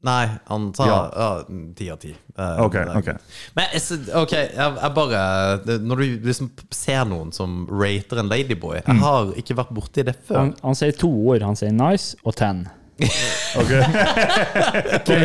[SPEAKER 1] Nei, han sa ja.
[SPEAKER 2] Ja.
[SPEAKER 1] ti av ti. Eh,
[SPEAKER 2] Ok,
[SPEAKER 1] det-
[SPEAKER 2] ok.
[SPEAKER 1] Men jeg sy- OK, jeg, jeg bare det- Når du liksom ser noen som rater en ladyboy
[SPEAKER 2] Mm.
[SPEAKER 1] Jeg har ikke vært borti det før.
[SPEAKER 3] Han, han sier to ord. Han sier nice og ten. det, kan,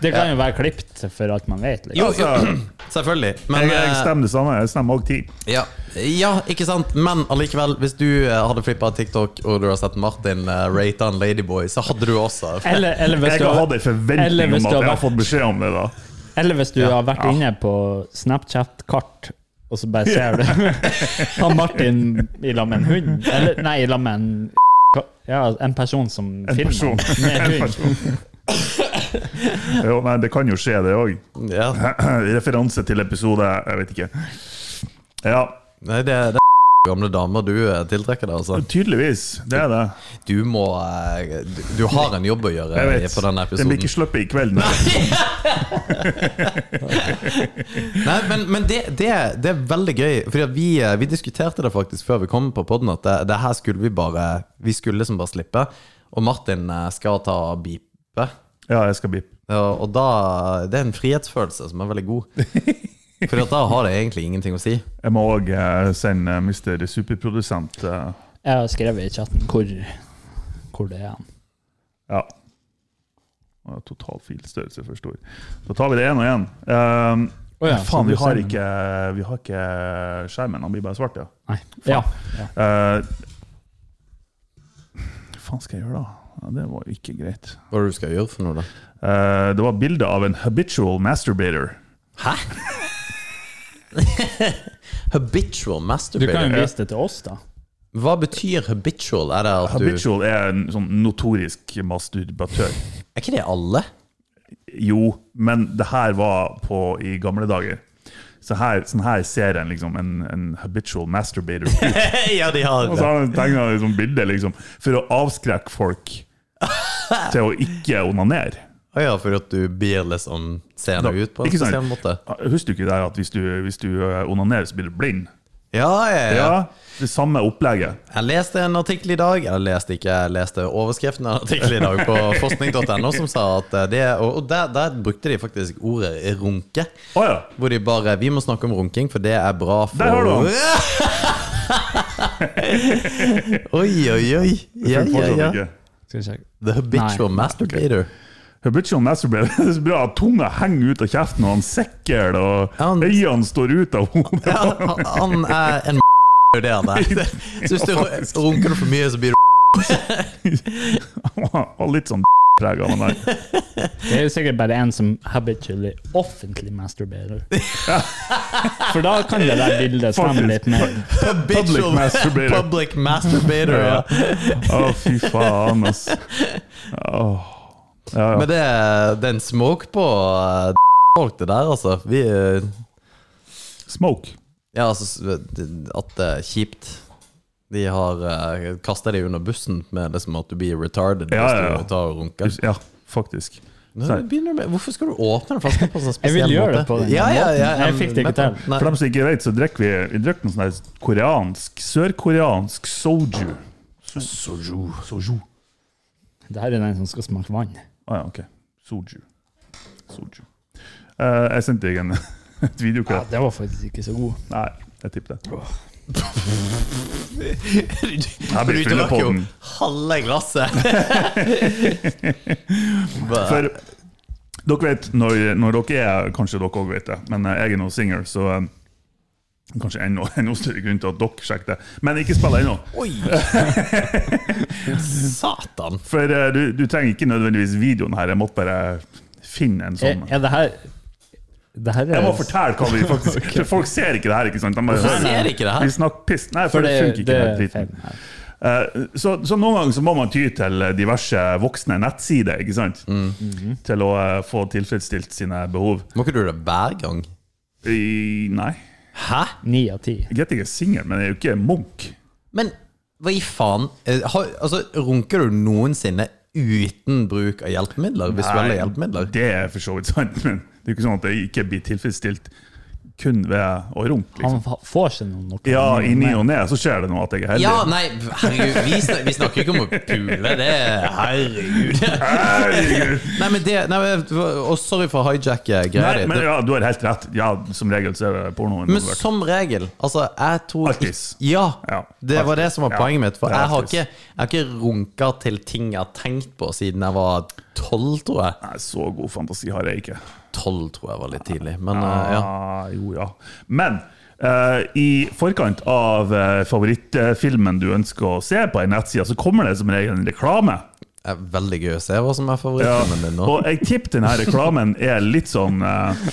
[SPEAKER 3] det kan jo være klipt for alt man vet.
[SPEAKER 1] Jo,
[SPEAKER 3] Liksom.
[SPEAKER 1] jo, selvfølgelig. Men
[SPEAKER 2] Altså, Jeg, jeg
[SPEAKER 1] eh,
[SPEAKER 2] stemmer det samme. Jeg stemmer òg ti.
[SPEAKER 1] Ja, ja ikke sant? Men allikevel, hvis du eh, hadde flippa TikTok og du har sett Martin uh, rate en ladyboy, så hadde du også
[SPEAKER 3] Eller, eller hvis
[SPEAKER 2] Jeg
[SPEAKER 3] du,
[SPEAKER 2] har
[SPEAKER 3] har,
[SPEAKER 2] hatt en forventning
[SPEAKER 3] eller
[SPEAKER 2] om
[SPEAKER 3] hvis
[SPEAKER 2] at
[SPEAKER 3] du
[SPEAKER 2] jeg
[SPEAKER 3] har
[SPEAKER 2] har
[SPEAKER 3] vært-
[SPEAKER 2] fått beskjed om det. da
[SPEAKER 3] eller hvis du har vært inne på Snapchat-kart, og så bare ser du han Martin i lag med en hund Eller nei, i lag med en ja, en person som filmer
[SPEAKER 2] person.
[SPEAKER 3] med
[SPEAKER 2] En
[SPEAKER 3] hund.
[SPEAKER 2] Jo, nei, Det kan jo skje, det òg.
[SPEAKER 1] Ja,
[SPEAKER 2] Referanse til episode Jeg vet ikke. Ja,
[SPEAKER 1] nei, det, det er gamle damer du eh, tiltrekker deg, altså.
[SPEAKER 2] tydeligvis. Det er det.
[SPEAKER 1] Du må eh, du, du har en jobb å gjøre
[SPEAKER 2] Jeg
[SPEAKER 1] i-
[SPEAKER 2] vet.
[SPEAKER 1] på denne
[SPEAKER 2] Den blir
[SPEAKER 1] episoden.
[SPEAKER 2] ikke sluppet i kveld. Nei.
[SPEAKER 1] Nei, men, men det, det, det er veldig gøy, for vi, eh, vi diskuterte det faktisk før vi kom på podden at det, det her skulle vi bare Vi skulle liksom bare slippe. Og Martin eh, skal ta beepe.
[SPEAKER 2] Ja, jeg skal bippe.
[SPEAKER 1] Ja, og da Det er en frihetsfølelse som er veldig god. For da har det egentlig ingenting å si.
[SPEAKER 2] Jeg må òg sende Mr. Superprodusent eh,
[SPEAKER 3] Jeg har skrevet i chatten hvor, hvor det er han.
[SPEAKER 2] Ja. Ja, Total filstørrelse for stor. Da tar vi det én og én. Um,
[SPEAKER 3] Å ja, så
[SPEAKER 2] faen, vi
[SPEAKER 3] du
[SPEAKER 2] har,
[SPEAKER 3] ser den.
[SPEAKER 2] ikke, eh, vi har ikke skjermen. Han blir bare svart, ja.
[SPEAKER 3] Nei. Ja.
[SPEAKER 2] Eh, Hva faen skal jeg gjøre, da? Ja, det var jo ikke greit.
[SPEAKER 1] Hva er det du skal gjøre for noe, da?
[SPEAKER 2] Eh, det var bilde av en habitual masturbator.
[SPEAKER 1] Hæ? habitual
[SPEAKER 3] Du kan jo
[SPEAKER 1] masturbator?
[SPEAKER 3] vise det til oss, da.
[SPEAKER 1] Hva betyr habitual? Er det at du
[SPEAKER 2] Habitual er en sånn notorisk masturbatør.
[SPEAKER 1] Er ikke det alle?
[SPEAKER 2] Jo, men det her var på i gamle dager. Så her, sånn her ser en, liksom, en, en habitual masturbator ut.
[SPEAKER 1] ja, de har
[SPEAKER 2] Og så har han tegna et sånt bilde liksom, for å avskrekke folk til å ikke onanere.
[SPEAKER 1] Å ja, for at du blir liksom seende ut på en
[SPEAKER 2] Ikke sant? Ah,
[SPEAKER 1] spesiell måte?
[SPEAKER 2] Husker du ikke det at hvis du, hvis du eh, onanerer, så blir du blind?
[SPEAKER 1] Ja, ja, ja.
[SPEAKER 2] Ja, det samme opplegget.
[SPEAKER 1] Jeg leste en artikkel i dag Jeg leste ikke, jeg leste overskriften av en artikkel i dag på forskning.no som sa at eh, det Og og der, der brukte de faktisk ordet runke.
[SPEAKER 2] Å ja!
[SPEAKER 1] Hvor de bare Vi må snakke om runking, for det er bra for
[SPEAKER 2] Der har du han!
[SPEAKER 1] Oi, oi, oi. Ja, ja,
[SPEAKER 2] Fikk fortsatt
[SPEAKER 1] ja.
[SPEAKER 2] ikke.
[SPEAKER 3] Skal vi sjekke.
[SPEAKER 1] The habitual masturbator.
[SPEAKER 2] Habitual masturbator. Det er så bra at tunga henger ut av kjeften, og han sikker, og
[SPEAKER 1] Han-
[SPEAKER 2] øynene står ut av hodet.
[SPEAKER 1] Ja, han- han er en det er han der. Så hvis du
[SPEAKER 2] faktisk.
[SPEAKER 1] runker du for mye, så blir du
[SPEAKER 2] Og litt sånn preg av han der.
[SPEAKER 3] Det er jo sikkert bare en som habitually offentlig masturberer. For da kan det der bildet stemme litt mer.
[SPEAKER 1] habitual
[SPEAKER 2] masturbator.
[SPEAKER 1] Public masturbator ja.
[SPEAKER 2] Å, fy faen, ass. Åh. Ja, ja.
[SPEAKER 1] Men det, er- det er en smoke på eh, folk, det der, altså. Vi eh,
[SPEAKER 2] Smoke.
[SPEAKER 1] Ja, altså s- det- At det er kjipt. De har uh, kasta deg under bussen med liksom at du blir retarded
[SPEAKER 2] Ja,
[SPEAKER 1] hvis
[SPEAKER 2] ja, ja.
[SPEAKER 1] du tar og runker.
[SPEAKER 2] Ja, faktisk. Sånn
[SPEAKER 1] Nå begynner du med, hvorfor skal du åpne den flasken på en sånn
[SPEAKER 3] Jeg
[SPEAKER 1] spesiell måte?
[SPEAKER 3] vil gjøre det på den
[SPEAKER 1] ja, ja, ja,
[SPEAKER 3] måten. Jeg fikk det ikke
[SPEAKER 1] men-
[SPEAKER 3] til.
[SPEAKER 1] Nei.
[SPEAKER 2] For dem som ikke vet, så drikker vi vi drikker noe sånn her koreansk, sørkoreansk soju. Soju. Soju.
[SPEAKER 3] Det her er den som skal smake vann.
[SPEAKER 2] Ah, ja, ok. Soju. Soju. Eh, jeg sendte deg en et
[SPEAKER 3] Ja,
[SPEAKER 2] videoklipp.
[SPEAKER 3] det var faktisk ikke så god.
[SPEAKER 2] Nei, jeg tipper det.
[SPEAKER 1] For
[SPEAKER 2] blir
[SPEAKER 1] du drakk jo
[SPEAKER 2] fyllepodden.
[SPEAKER 1] halve glasset. Bare-
[SPEAKER 2] For dere vet, når, når dere er Kanskje dere òg vet det, men eh, jeg er nå singel, så eh, Kanskje enda, enda større grunn til at dere sjekker det. Men ikke spill ennå.
[SPEAKER 1] Oi! Satan.
[SPEAKER 2] For eh, du, du trenger ikke nødvendigvis videoen her. Jeg måtte bare finne en
[SPEAKER 3] Er,
[SPEAKER 2] sånn.
[SPEAKER 3] er det her Det her er
[SPEAKER 2] Jeg må fortelle hva vi faktisk For folk ser ikke det her, ikke sant? De bare,
[SPEAKER 1] Hvorfor ser de ikke det her?
[SPEAKER 2] Vi snakker piss. Nei, for,
[SPEAKER 3] For
[SPEAKER 2] det, funker ikke.
[SPEAKER 3] er
[SPEAKER 2] den dritten.
[SPEAKER 3] feil her.
[SPEAKER 2] Eh, så, så noen ganger så må man ty til eh, diverse voksne nettsider, ikke sant? Til å eh, få tilfredsstilt sine behov.
[SPEAKER 1] Må ikke du det hver gang?
[SPEAKER 2] I, nei.
[SPEAKER 1] Hæ?
[SPEAKER 3] Ni av ti.
[SPEAKER 2] Jeg er ikke singel, men jeg er jo ikke munk.
[SPEAKER 1] Men Hva i faen? Eh, Har, altså, runker du noensinne uten bruk av hjelpemidler? Visuelle
[SPEAKER 2] Nei,
[SPEAKER 1] hjelpemidler?
[SPEAKER 2] Det er for så vidt sant, men det er jo ikke sånn at jeg ikke blir tilfredsstilt kun ved å runke. Liksom.
[SPEAKER 3] Han fa- får seg noe. noe
[SPEAKER 2] Ja, i ny
[SPEAKER 3] mer.
[SPEAKER 2] og ne så skjer det nå at jeg er heldig.
[SPEAKER 1] Ja, nei, herregud, vi snakker, vi snakker ikke om å pule. Det er Herregud.
[SPEAKER 2] Herregud!
[SPEAKER 1] Nei, men det nei, men- Og sorry for å eh, hijacke greia
[SPEAKER 2] Nei,
[SPEAKER 1] di.
[SPEAKER 2] men ja, du har helt rett. Ja, som regel så er det pornoen.
[SPEAKER 1] Men
[SPEAKER 2] involvert.
[SPEAKER 1] som regel, altså jeg tror ikke-
[SPEAKER 2] Arktis.
[SPEAKER 1] Ja,
[SPEAKER 2] Ja,
[SPEAKER 1] det var det
[SPEAKER 2] Arktis.
[SPEAKER 1] som var
[SPEAKER 2] Ja,
[SPEAKER 1] poenget mitt. For
[SPEAKER 2] det er
[SPEAKER 1] jeg har,
[SPEAKER 2] Arktis.
[SPEAKER 1] ikke, jeg har ikke runka til ting jeg har tenkt på siden jeg var tolv, tror jeg.
[SPEAKER 2] Nei, så god fantasi har jeg ikke.
[SPEAKER 1] Tolv tror jeg var litt tidlig, men eh, ja.
[SPEAKER 2] Ah, jo, ja. Men eh, i forkant av eh, favorittfilmen du ønsker å se på en nettside, så kommer det som regel en reklame.
[SPEAKER 1] Det er veldig gøy å se hva som er favorittfilmen din nå.
[SPEAKER 2] Og jeg tipper denne reklamen er litt sånn eh,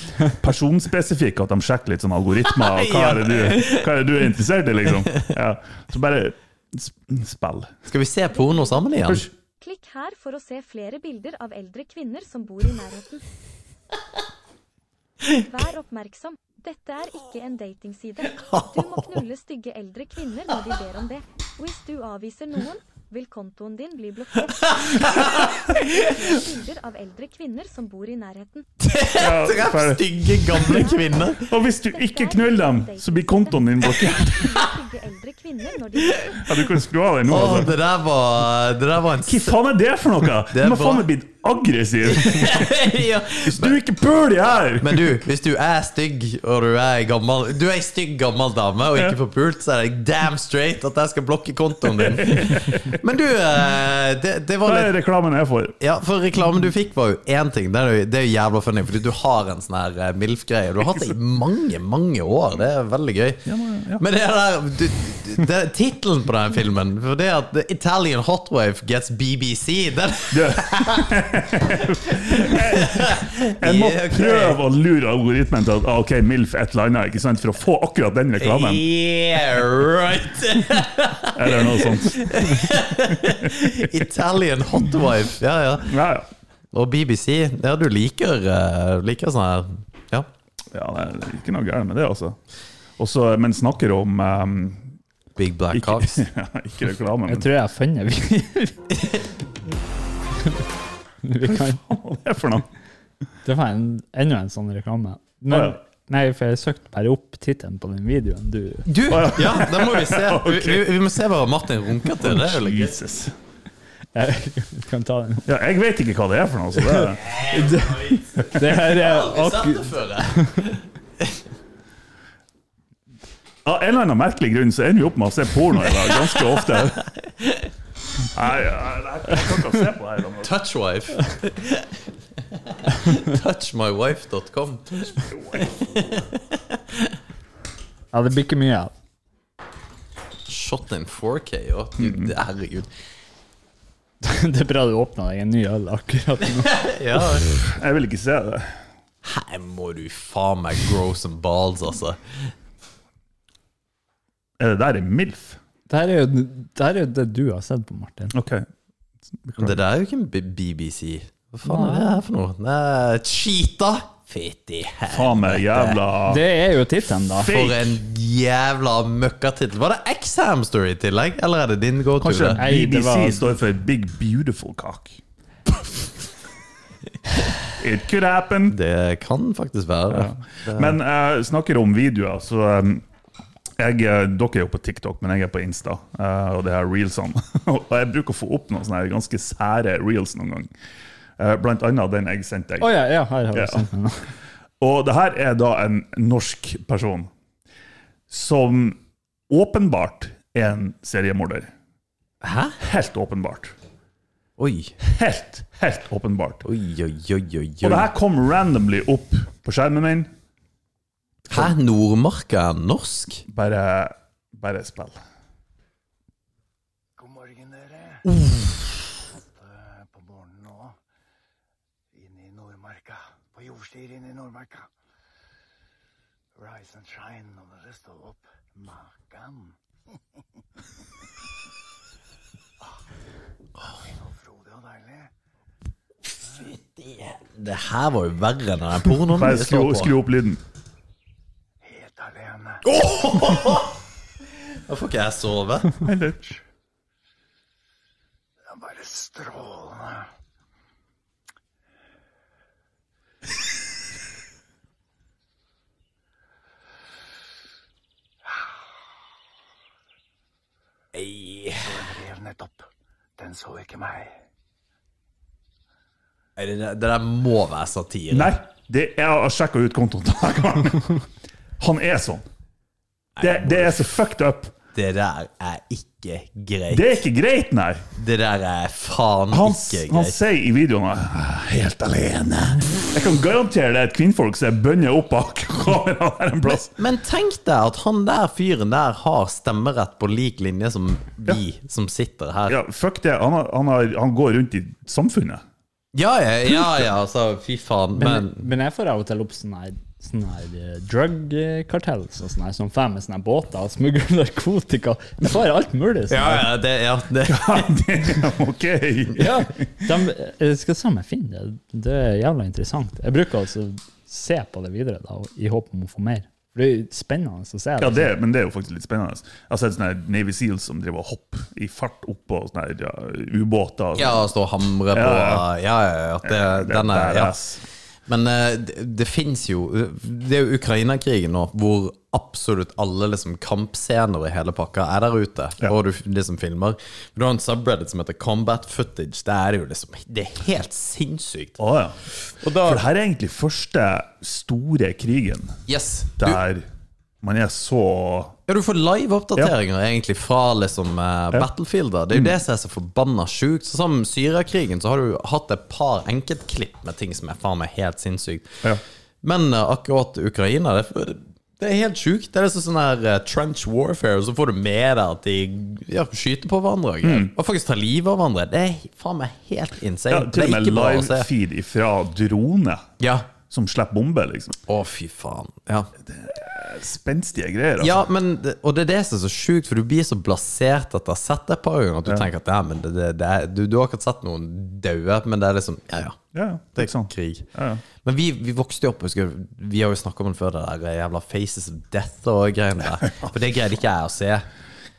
[SPEAKER 2] personspesifikk, at de sjekker litt sånn algoritmer. Og hva, er det du, hva er det du er interessert i, liksom? Ja. Så bare sp- spill.
[SPEAKER 1] Skal vi se porno sammen igjen?
[SPEAKER 5] Klikk her for å se flere bilder av eldre kvinner som bor i nærheten. Vær oppmerksom. Dette er ikke en datingside. Du må knulle stygge eldre kvinner når de ber om det. Hvis du avviser noen, vil kontoen din bli blokkert. Bilder av eldre kvinner som bor i nærheten.
[SPEAKER 2] Ja,
[SPEAKER 1] Treff
[SPEAKER 2] ferdig.
[SPEAKER 1] stygge, gamle kvinner!
[SPEAKER 2] og hvis du ikke knuller dem, så blir kontoen din blokkert.
[SPEAKER 5] Stygge eldre kvinner når de ber om
[SPEAKER 2] Ja, du kan skru av den nå.
[SPEAKER 1] Å,
[SPEAKER 2] Altså.
[SPEAKER 1] det der var Det der var en
[SPEAKER 2] Hva faen er det for noe?
[SPEAKER 1] Det er
[SPEAKER 2] De har faen
[SPEAKER 1] bra.
[SPEAKER 2] meg blitt aggressive.
[SPEAKER 1] ja.
[SPEAKER 2] Hvis du ikke puler de her!
[SPEAKER 1] Men du, hvis du er stygg og du er gammel Du er ei stygg gammel dame og ikke får pult, så er det damn straight at jeg skal blokke kontoen din. Men du, eh, det, det var
[SPEAKER 2] Hva
[SPEAKER 1] litt
[SPEAKER 2] er reklamen jeg får?
[SPEAKER 1] ja, for reklamen du fikk, var jo én ting. Det er jo, det er jo jævla funny, fordi du har en sånn her eh, MILF-greie. Du har hatt det i mange, mange år. Det er veldig gøy.
[SPEAKER 2] men- ja.
[SPEAKER 1] Men det der du, du- det er Tittelen på den filmen, for det at The Italian Hotwave gets BBC den,
[SPEAKER 2] Du. Jeg må
[SPEAKER 1] Ja, ok.
[SPEAKER 2] prøve å lure algoritmen til at ah, ok, MILF et eller annet, ikke sant? for å få akkurat den reklamen.
[SPEAKER 1] Yeah, right!
[SPEAKER 2] Eller noe sånt.
[SPEAKER 1] Italian Hotwife. Ja, ja.
[SPEAKER 2] Ja, ja.
[SPEAKER 1] Og BBC. Ja, du liker, eh, liker sånn her Ja.
[SPEAKER 2] ja det er ikke noe gærent med det, altså. Også, men snakker om ehm,
[SPEAKER 1] Big Black
[SPEAKER 2] ikke,
[SPEAKER 1] Cocks.
[SPEAKER 2] ikke reklame, men
[SPEAKER 3] Jeg tror jeg har funnet vi- Vi kan
[SPEAKER 2] hva er det for noe?
[SPEAKER 3] Det var en, enda en sånn reklame. Men,
[SPEAKER 2] Å, ja.
[SPEAKER 3] Nei, for jeg søkte bare opp tittelen på den videoen du
[SPEAKER 1] Du! Ja, det må vi se. Vi,
[SPEAKER 2] Ok.
[SPEAKER 1] vi, vi må se hva Martin runker til. Det er jo litt gøy.
[SPEAKER 2] Jesus.
[SPEAKER 3] Jeg kan ta den.
[SPEAKER 2] Ja, jeg vet ikke hva det er for noe. Så det er.
[SPEAKER 3] Det her er
[SPEAKER 1] Jeg har aldri sett
[SPEAKER 3] akkurat
[SPEAKER 1] det før, jeg.
[SPEAKER 2] Av en eller annen merkelig grunn så ender vi opp med å se porno i dag ganske ofte. Nei, jeg, jeg kan ikke se på det her. da.
[SPEAKER 1] Touchwife. Touchmywife.com.
[SPEAKER 3] Ja, det blir ikke mye av.
[SPEAKER 1] Shot in 4K. Å, Gud,
[SPEAKER 2] Mm-hmm.
[SPEAKER 1] det- herregud.
[SPEAKER 3] Det er bra du åpna deg en ny øl akkurat nå.
[SPEAKER 1] Ja.
[SPEAKER 2] Jeg vil ikke se det.
[SPEAKER 1] Her må du faen meg grow some balls, altså.
[SPEAKER 2] Er det der en MILF?
[SPEAKER 3] Det her er jo det, her er jo det du har sett på, Martin.
[SPEAKER 2] Ok.
[SPEAKER 1] Det der er jo ikke en B- BBC. Hva faen er det her for noe? Nei, Cheetah! Fytti helvete.
[SPEAKER 2] Faen meg jævla
[SPEAKER 3] Det er jo tittelen, da.
[SPEAKER 1] For en jævla møkkatittel. Var det X-Hamster i tillegg, eller er det din go to?
[SPEAKER 2] Kanskje
[SPEAKER 1] det?
[SPEAKER 3] Nei, det
[SPEAKER 2] BBC
[SPEAKER 3] var-
[SPEAKER 2] står for Big Beautiful Cock. It could happen.
[SPEAKER 1] Det kan faktisk være det.
[SPEAKER 2] Men jeg snakker om videoer, så eh, jeg, eh, Dere er jo på TikTok, men jeg er på Insta, eh, og det er reelsene. og jeg bruker å få opp noen sånne her ganske sære reels noen gang. Eh, Blant annet den jeg sendte
[SPEAKER 3] Å
[SPEAKER 2] deg.
[SPEAKER 3] ja, ja, her har
[SPEAKER 2] Ja.
[SPEAKER 3] jeg sendt den.
[SPEAKER 2] Og det her er da en norsk person som åpenbart er en seriemorder.
[SPEAKER 1] Hæ?
[SPEAKER 2] Helt åpenbart.
[SPEAKER 1] Oi.
[SPEAKER 2] Helt, helt åpenbart.
[SPEAKER 1] Oi, oi, oi, oi.
[SPEAKER 2] Og det
[SPEAKER 1] oi.
[SPEAKER 2] her kom randomly opp på skjermen min.
[SPEAKER 1] Hæ, Nordmarka er norsk?
[SPEAKER 2] Bare, bare spill.
[SPEAKER 6] God morgen, dere. Åtte på morgenen nå. Inn i Nordmarka. På jordstyret inn i Nordmarka. Rise and shine når dere står opp. Makan. Ah, det er så frodig og deilig.
[SPEAKER 1] Det her var jo verre enn den pornoen
[SPEAKER 2] Bare
[SPEAKER 1] vi så
[SPEAKER 2] skru,
[SPEAKER 1] på.
[SPEAKER 2] skru opp lyden.
[SPEAKER 6] Helt alene.
[SPEAKER 1] Da får ikke jeg sove.
[SPEAKER 6] bare strålende.
[SPEAKER 1] Ei,
[SPEAKER 6] Den rev nettopp. Den så ikke meg.
[SPEAKER 1] nei, det, der- det der må være satire.
[SPEAKER 2] Nei, det, jeg har sjekka ut kontoen til denne karen. Han er sånn. Det, det er så fucked up.
[SPEAKER 1] Det der er ikke greit.
[SPEAKER 2] Det
[SPEAKER 1] Det,
[SPEAKER 2] er ikke greit, nei.
[SPEAKER 1] der er faen
[SPEAKER 2] Han,
[SPEAKER 1] ikke
[SPEAKER 2] han
[SPEAKER 1] greit.
[SPEAKER 2] sier i videoen «Jeg er Helt alene. Jeg kan garantere det er et kvinnfolk som er bønner opp av kameraet der en plass.
[SPEAKER 1] Men tenk deg at han der fyren der har stemmerett på lik linje som vi som sitter her.
[SPEAKER 2] Ja, fuck det. Han, har, han, har, han går rundt i samfunnet.
[SPEAKER 1] Ja, ja, ja, ja altså, fy faen.
[SPEAKER 3] Men,
[SPEAKER 1] Men
[SPEAKER 3] men jeg får av og til opp sånne her, sånne her eh, drug-kartell sånn sånn her, som fer med sånne her båter og smugler narkotika. De får alt mulig. sånn
[SPEAKER 1] Ja,
[SPEAKER 3] her.
[SPEAKER 1] ja, det, ja, det.
[SPEAKER 2] OK.
[SPEAKER 3] Ja, de, jeg skal se om jeg finner det. Det er jævla interessant. Jeg bruker altså se på det videre da, i håp om å få mer. For det er jo spennende å se.
[SPEAKER 2] Ja, det, men det er jo faktisk litt spennende. Jeg har sett sånne her Navy Seals som driver og hopper i fart oppå sånne her, ja, ubåter.
[SPEAKER 1] Ja, å stå og hamre på
[SPEAKER 2] Ja,
[SPEAKER 1] Ja, ja, at det,
[SPEAKER 2] Det er
[SPEAKER 1] den er ja.
[SPEAKER 2] badass.
[SPEAKER 1] Men eh, det, det fins jo Det er jo Ukraina-krigen nå, hvor absolutt alle liksom, kampscener i hele pakka er der ute. Og du liksom filmer. Du har en subreddit som heter Combat Footage. Det er det jo liksom Det er helt sinnssykt.
[SPEAKER 2] Å ja. For det her er egentlig første store krigen
[SPEAKER 1] Yes. Du, ja,
[SPEAKER 2] der man er så
[SPEAKER 1] du får live-oppdateringer egentlig fra liksom eh, battlefielder. Det er jo
[SPEAKER 2] Mm.
[SPEAKER 1] det som er så forbanna sjukt. Så Som Syriakrigen så har du hatt et par enkeltklipp med ting som er faen meg helt sinnssykt.
[SPEAKER 2] ja.
[SPEAKER 1] Men eh, akkurat Ukraina, det, det er helt sjukt. Det er liksom sånn her eh, trench warfare, og så får du med deg at de ja, skyter på hverandre og greier. Og faktisk tar livet av hverandre. Det er faen meg helt insane.
[SPEAKER 2] Mm. ja til
[SPEAKER 1] det
[SPEAKER 2] og
[SPEAKER 1] er
[SPEAKER 2] med
[SPEAKER 1] ikke bra å se.
[SPEAKER 2] livefeed ifra drone
[SPEAKER 1] Ja.
[SPEAKER 2] som slipper bombe, liksom.
[SPEAKER 1] Å, fy faen. Ja.
[SPEAKER 2] Spenstige greier. Altså.
[SPEAKER 1] ja, men det- Og det er det som er så sjukt, for du blir så blasert etter å ha sett det et par ganger at du tenker at ja, men det, det, det er, du, du har akkurat sett noen daue, men det er liksom Ja, ja.
[SPEAKER 2] Ja, ja,
[SPEAKER 1] Det
[SPEAKER 2] ikke
[SPEAKER 1] er
[SPEAKER 2] sant.
[SPEAKER 1] krig.
[SPEAKER 2] Ja, ja.
[SPEAKER 1] Men vi, vi vokste jo opp, husker du, vi har jo snakka om den før, det der jævla Faces of Death og greiene der. For det greide ikke jeg å se.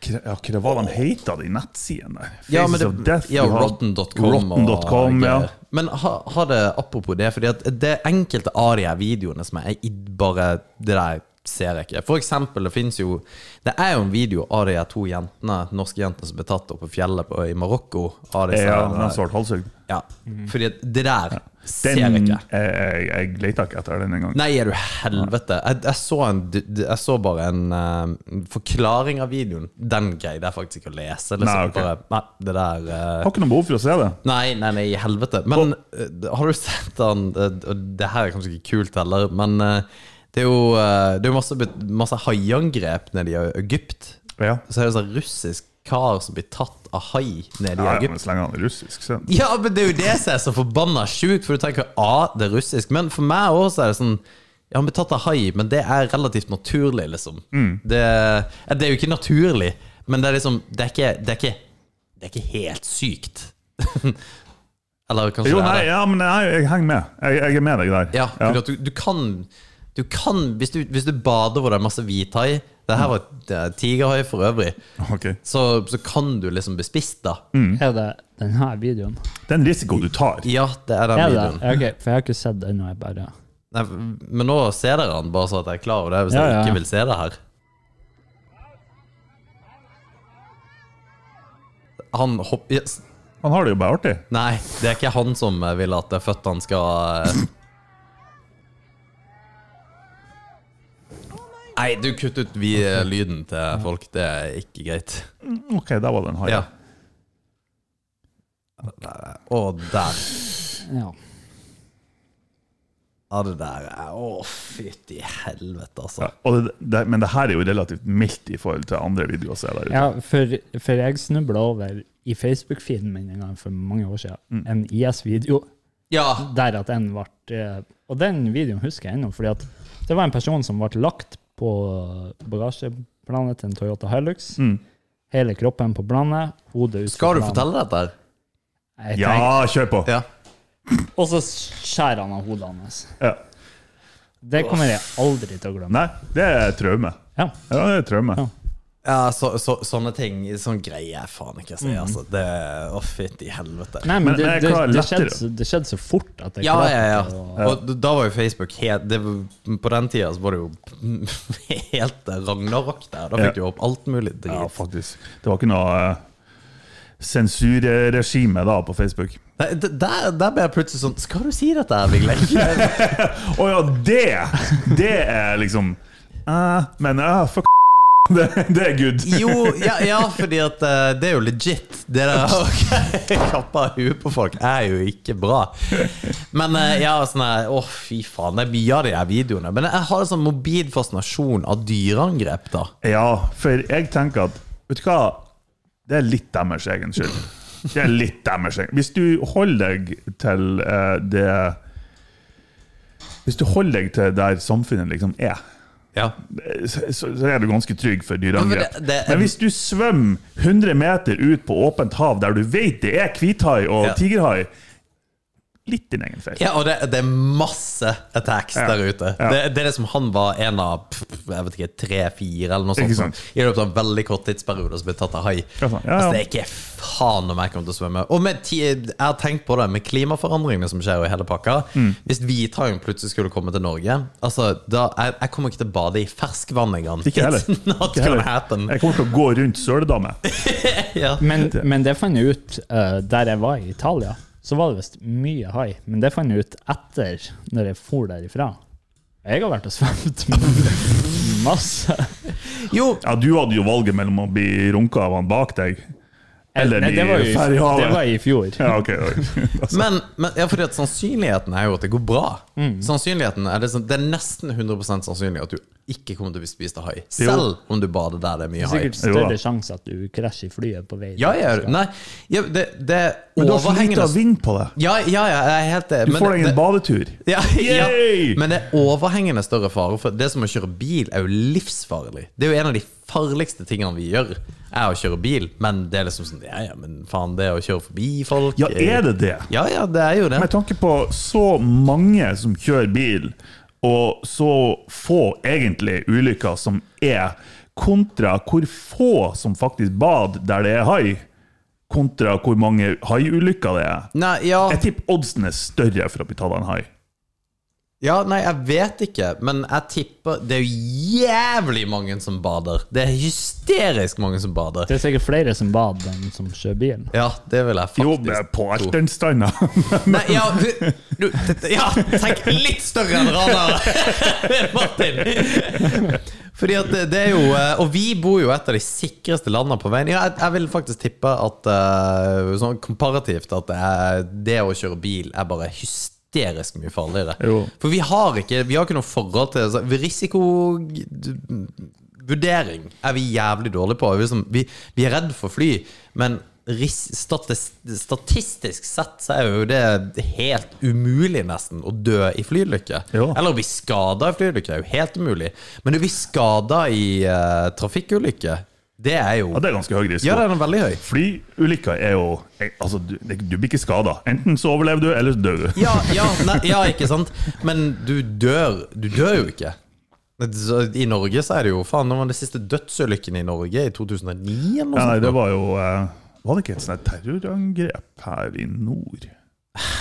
[SPEAKER 2] Hva ja, hva det var de heita, de nettsidene der? Faces
[SPEAKER 1] Ja, men det,
[SPEAKER 2] of Death.
[SPEAKER 1] ja,
[SPEAKER 2] du har-
[SPEAKER 1] Rotten.com. og
[SPEAKER 2] Rotten.com, ja.
[SPEAKER 1] greier. Men ha, ha det apropos det, fordi at det enkelte av de her videoene som er i bare det der ser jeg ikke. For eksempel, det finnes jo Det er jo en video av de her to jentene, norske jentene som ble tatt opp på fjellet på, i Marokko. Av disse
[SPEAKER 2] Ja,
[SPEAKER 1] her-
[SPEAKER 2] den svarte halshugd.
[SPEAKER 1] ja. Fordi at det der ser jeg
[SPEAKER 2] Den
[SPEAKER 1] ikke.
[SPEAKER 2] jeg, jeg, jeg leter ikke etter den engang.
[SPEAKER 1] Nei, er du helvete. Jeg, jeg, så en, d- d- jeg så bare en eh, forklaring av videoen. Den greide jeg faktisk ikke å lese. Liksom.
[SPEAKER 2] Nei, ok.
[SPEAKER 1] bare, nei, det der eh,
[SPEAKER 2] Har ikke noe behov for å se det.
[SPEAKER 1] Nei, nei, nei, i helvete. Men eh, har du sett den eh, og Det her er kanskje ikke kult heller, men eh, det er jo, eh, det er jo masse, bet- masse haiangrep nede i Egypt.
[SPEAKER 2] Ja,
[SPEAKER 1] Så er det en sånn russisk kar som blir tatt av hai nede i
[SPEAKER 2] ja, ja
[SPEAKER 1] Egypt.
[SPEAKER 2] men Så lenge han er russisk, så
[SPEAKER 1] Ja, men det er jo det som er så forbanna sjukt, for du tenker A, det er russisk. Men for meg òg er det sånn Ja, han ble tatt av hai, men det er relativt naturlig, liksom.
[SPEAKER 2] Mm.
[SPEAKER 1] Det, ja, det er jo ikke naturlig, men det er liksom Det er ikke, det er ikke, det er ikke helt sykt. Eller kanskje
[SPEAKER 2] Jo,
[SPEAKER 1] det er
[SPEAKER 2] nei,
[SPEAKER 1] det.
[SPEAKER 2] ja, men jeg, jeg henger med. Jeg, jeg er med deg der.
[SPEAKER 1] Ja, fordi at Du, du kan, du kan hvis, du, hvis du bader hvor det er masse hvithai Det
[SPEAKER 2] Mm.
[SPEAKER 1] her var det er tigerhai for øvrig.
[SPEAKER 2] Ok.
[SPEAKER 1] Så, så kan du liksom bli spist, da.
[SPEAKER 2] Mm.
[SPEAKER 3] Er det denne videoen?
[SPEAKER 2] Det er en risiko du tar.
[SPEAKER 1] Ja, det er den
[SPEAKER 3] Er det?
[SPEAKER 1] videoen.
[SPEAKER 3] Ja, ok, for jeg har ikke sett det ennå. Jeg bare
[SPEAKER 1] Nei, men nå ser dere han, bare så at jeg er klar over det, hvis
[SPEAKER 3] Ja, ja.
[SPEAKER 1] jeg ikke vil se det her. Han hopp... Yes.
[SPEAKER 2] Han har det jo bare artig.
[SPEAKER 1] Nei, det er ikke han som eh, vil at det er født han skal eh. Nei, du kutt ut vi, eh, lyden til folk. Det er ikke greit.
[SPEAKER 2] Mm, Ok, der var den haien.
[SPEAKER 1] Ja. Der, eh. Å, der.
[SPEAKER 3] Ja.
[SPEAKER 1] Ja, det der er Å, fytti helvete, altså.
[SPEAKER 2] Ja, og det, det, men det her er jo relativt mildt i forhold til andre videoer som er der ute.
[SPEAKER 3] ja for, for jeg snubla over i Facebook-feeden min en gang for mange år siden, en IS-video.
[SPEAKER 1] Ja.
[SPEAKER 3] der at en ble eh, Og den videoen husker jeg ennå, fordi at det var en person som ble lagt på bagasjeplanet til en Toyota Hilux.
[SPEAKER 2] Mm.
[SPEAKER 3] Hele kroppen på planet, hodet ut
[SPEAKER 1] Skal du fortelle dette? her?
[SPEAKER 3] Jeg
[SPEAKER 2] Ja,
[SPEAKER 3] tenker-
[SPEAKER 2] kjør på!
[SPEAKER 1] Ja.
[SPEAKER 3] Og så skjærer han av hodet hans.
[SPEAKER 2] Ja.
[SPEAKER 3] Det kommer jeg aldri til å glemme.
[SPEAKER 2] Nei, det er traume.
[SPEAKER 3] Ja.
[SPEAKER 2] Ja, det er traume.
[SPEAKER 3] Ja.
[SPEAKER 1] Ja, så, så, sånne ting sånn greier jeg faen ikke å si. Altså. Det Å, fytti helvete.
[SPEAKER 3] Nei, men
[SPEAKER 2] Men
[SPEAKER 3] det,
[SPEAKER 2] jeg
[SPEAKER 3] det,
[SPEAKER 2] klarer
[SPEAKER 3] det,
[SPEAKER 2] lettere.
[SPEAKER 3] skjedde, så- det skjedde så fort at jeg
[SPEAKER 1] Ja,
[SPEAKER 3] klarte
[SPEAKER 1] ja,
[SPEAKER 3] å-
[SPEAKER 1] ja. Og da var jo Facebook helt det, var- På den tida så var det jo helt ragnarok der. Da
[SPEAKER 2] Ja.
[SPEAKER 1] fikk du jo opp alt mulig drit.
[SPEAKER 2] Ja, faktisk. Det var ikke noe eh, sensurregime da på Facebook.
[SPEAKER 1] Nei, d- der, der ble jeg plutselig sånn Skal du si dette her, Vigleik?
[SPEAKER 2] Å ja, det! Det er liksom eh, Men eh, fuck det, det er good.
[SPEAKER 1] Jo, ja, ja fordi at eh, det er jo legit. Det der å kappe av huet på folk er jo ikke bra. Men eh, ja, sånn her Å, fy faen. Det er mye av de her videoene. Men jeg har en sånn mobil fascinasjon av dyreangrep, da.
[SPEAKER 2] Ja, for jeg tenker at Vet du hva? Det er litt deres egen skyld. Det er litt deres egen Hvis du holder deg til eh, det Hvis du holder deg til der samfunnet liksom er,
[SPEAKER 1] Ja.
[SPEAKER 2] så, så så er du ganske trygg for
[SPEAKER 1] Ja,
[SPEAKER 2] dyreangrep.
[SPEAKER 1] men det- det-
[SPEAKER 2] Men hvis du svømmer 100 meter ut på åpent hav der du vet det er hvithai og
[SPEAKER 1] Ja.
[SPEAKER 2] tigerhai Litt din egen feil.
[SPEAKER 1] Ja, og det, det er masse attacks
[SPEAKER 2] Ja,
[SPEAKER 1] der ute.
[SPEAKER 2] ja.
[SPEAKER 1] Det, det er det som han var en av pff, jeg vet ikke, tre-fire eller noe sånt.
[SPEAKER 2] Ikke sant.
[SPEAKER 1] I løpet av en veldig kort tidsperiode som ble tatt av hai.
[SPEAKER 2] Ja, sant. Ja, ja.
[SPEAKER 1] Altså, det er ikke faen om jeg kommer til å svømme. Og med ti, jeg har tenkt på det med klimaforandringene som skjer i hele pakka.
[SPEAKER 2] Mm.
[SPEAKER 1] Hvis hvithaien plutselig skulle komme til Norge Altså, da, jeg, jeg kommer ikke til å bade i ferskvann engang.
[SPEAKER 2] Ikke heller.
[SPEAKER 1] It's not
[SPEAKER 2] Ikke heller.
[SPEAKER 1] gonna happen.
[SPEAKER 2] Jeg kommer til å gå rundt søledame.
[SPEAKER 1] Ja.
[SPEAKER 3] Men, men det fant jeg ut eh, der jeg var i Italia. Så var det visst mye hai, men det fant jeg ut etter når jeg for derifra. Jeg har vært og svømt masse.
[SPEAKER 1] Jo,
[SPEAKER 2] Ja, du hadde jo valget mellom å bli runka av han bak deg, eller
[SPEAKER 3] Nei, det var jo
[SPEAKER 2] i
[SPEAKER 3] i-
[SPEAKER 2] ferjehavet.
[SPEAKER 3] Det var i fjor.
[SPEAKER 2] Ja, ok. Altså,
[SPEAKER 1] Men, men ja, fordi at sannsynligheten er jo at det går bra.
[SPEAKER 2] Mm.
[SPEAKER 1] Sannsynligheten er det, sånn- det er nesten 100 sannsynlig at du ikke kommer til å bli spist av hai. Selv om du bader der det er mye hai.
[SPEAKER 3] Sikkert
[SPEAKER 2] Jo da.
[SPEAKER 3] større sjanse at du krasjer i flyet på vei.
[SPEAKER 1] Ja, ja, nei, ja, det, det er
[SPEAKER 2] men du har så lite
[SPEAKER 1] overhengende
[SPEAKER 2] vind på det.
[SPEAKER 1] ja, ja, ja, jeg er helt eh, det.
[SPEAKER 2] Du får deg en badetur.
[SPEAKER 1] ja, ja,
[SPEAKER 2] Yay!
[SPEAKER 1] men det er overhengende større fare. For det som å kjøre bil er jo livsfarlig. Det er jo en av de farligste tingene vi gjør, er å kjøre bil. Men det er liksom sånn Ja, ja, men faen, det å kjøre forbi folk eh,
[SPEAKER 2] Ja, er det det?
[SPEAKER 1] Ja, ja, det er jo det.
[SPEAKER 2] Med tanke på så mange som kjører bil, og så få egentlig ulykker som er, kontra hvor få som faktisk bad der det er hai, kontra hvor mange haiulykker det er.
[SPEAKER 1] Nei, ja.
[SPEAKER 2] Jeg tipper oddsen er større for å bli tatt av en hai.
[SPEAKER 1] Ja, nei, jeg vet ikke, men jeg tipper Det er jo jævlig mange som bader. Det er hysterisk mange som bader.
[SPEAKER 3] Det er sikkert flere som bad enn som kjører bil.
[SPEAKER 1] Ja, det vil jeg faktisk
[SPEAKER 2] Jo, men på
[SPEAKER 1] tro.
[SPEAKER 2] Ertenstanda.
[SPEAKER 1] Nei, ja, du, du, dette- ja, tenk litt større enn radar, Martin! Fordi at det, det er jo eh, Og vi bor jo et av de sikreste landene på veien. Ja, jeg, jeg vil faktisk tippe at eh, sånn komparativt at det, er, det å kjøre bil er bare hysterisk mye farligere.
[SPEAKER 2] Jo.
[SPEAKER 1] For vi har ikke Vi har ikke noe forhold til så Risikovurdering er vi jævlig dårlige på. Vi, er liksom, vi, vi er redd for fly, men ris, statis, statistisk sett så er jo det helt umulig, nesten, å dø i flyulykke.
[SPEAKER 2] Jo.
[SPEAKER 1] Eller å bli skada i flyulykke er jo helt umulig. Men å bli skada i eh, trafikkulykke, det er jo
[SPEAKER 2] Ja, det er ganske høy risiko.
[SPEAKER 1] Ja, den er veldig høy.
[SPEAKER 2] Flyulykker er jo altså, du, du blir ikke skada. Enten så overlever du, eller så dør du.
[SPEAKER 1] Ja, ja, nei, ja, ikke sant? Men du dør Du dør jo ikke. Så I Norge så er det jo faen Det var den siste dødsulykken i Norge i 2009 eller noe
[SPEAKER 2] Ja, nei,
[SPEAKER 1] sånt.
[SPEAKER 2] det var jo eh, Var det ikke et sånt her terrorangrep her i nord?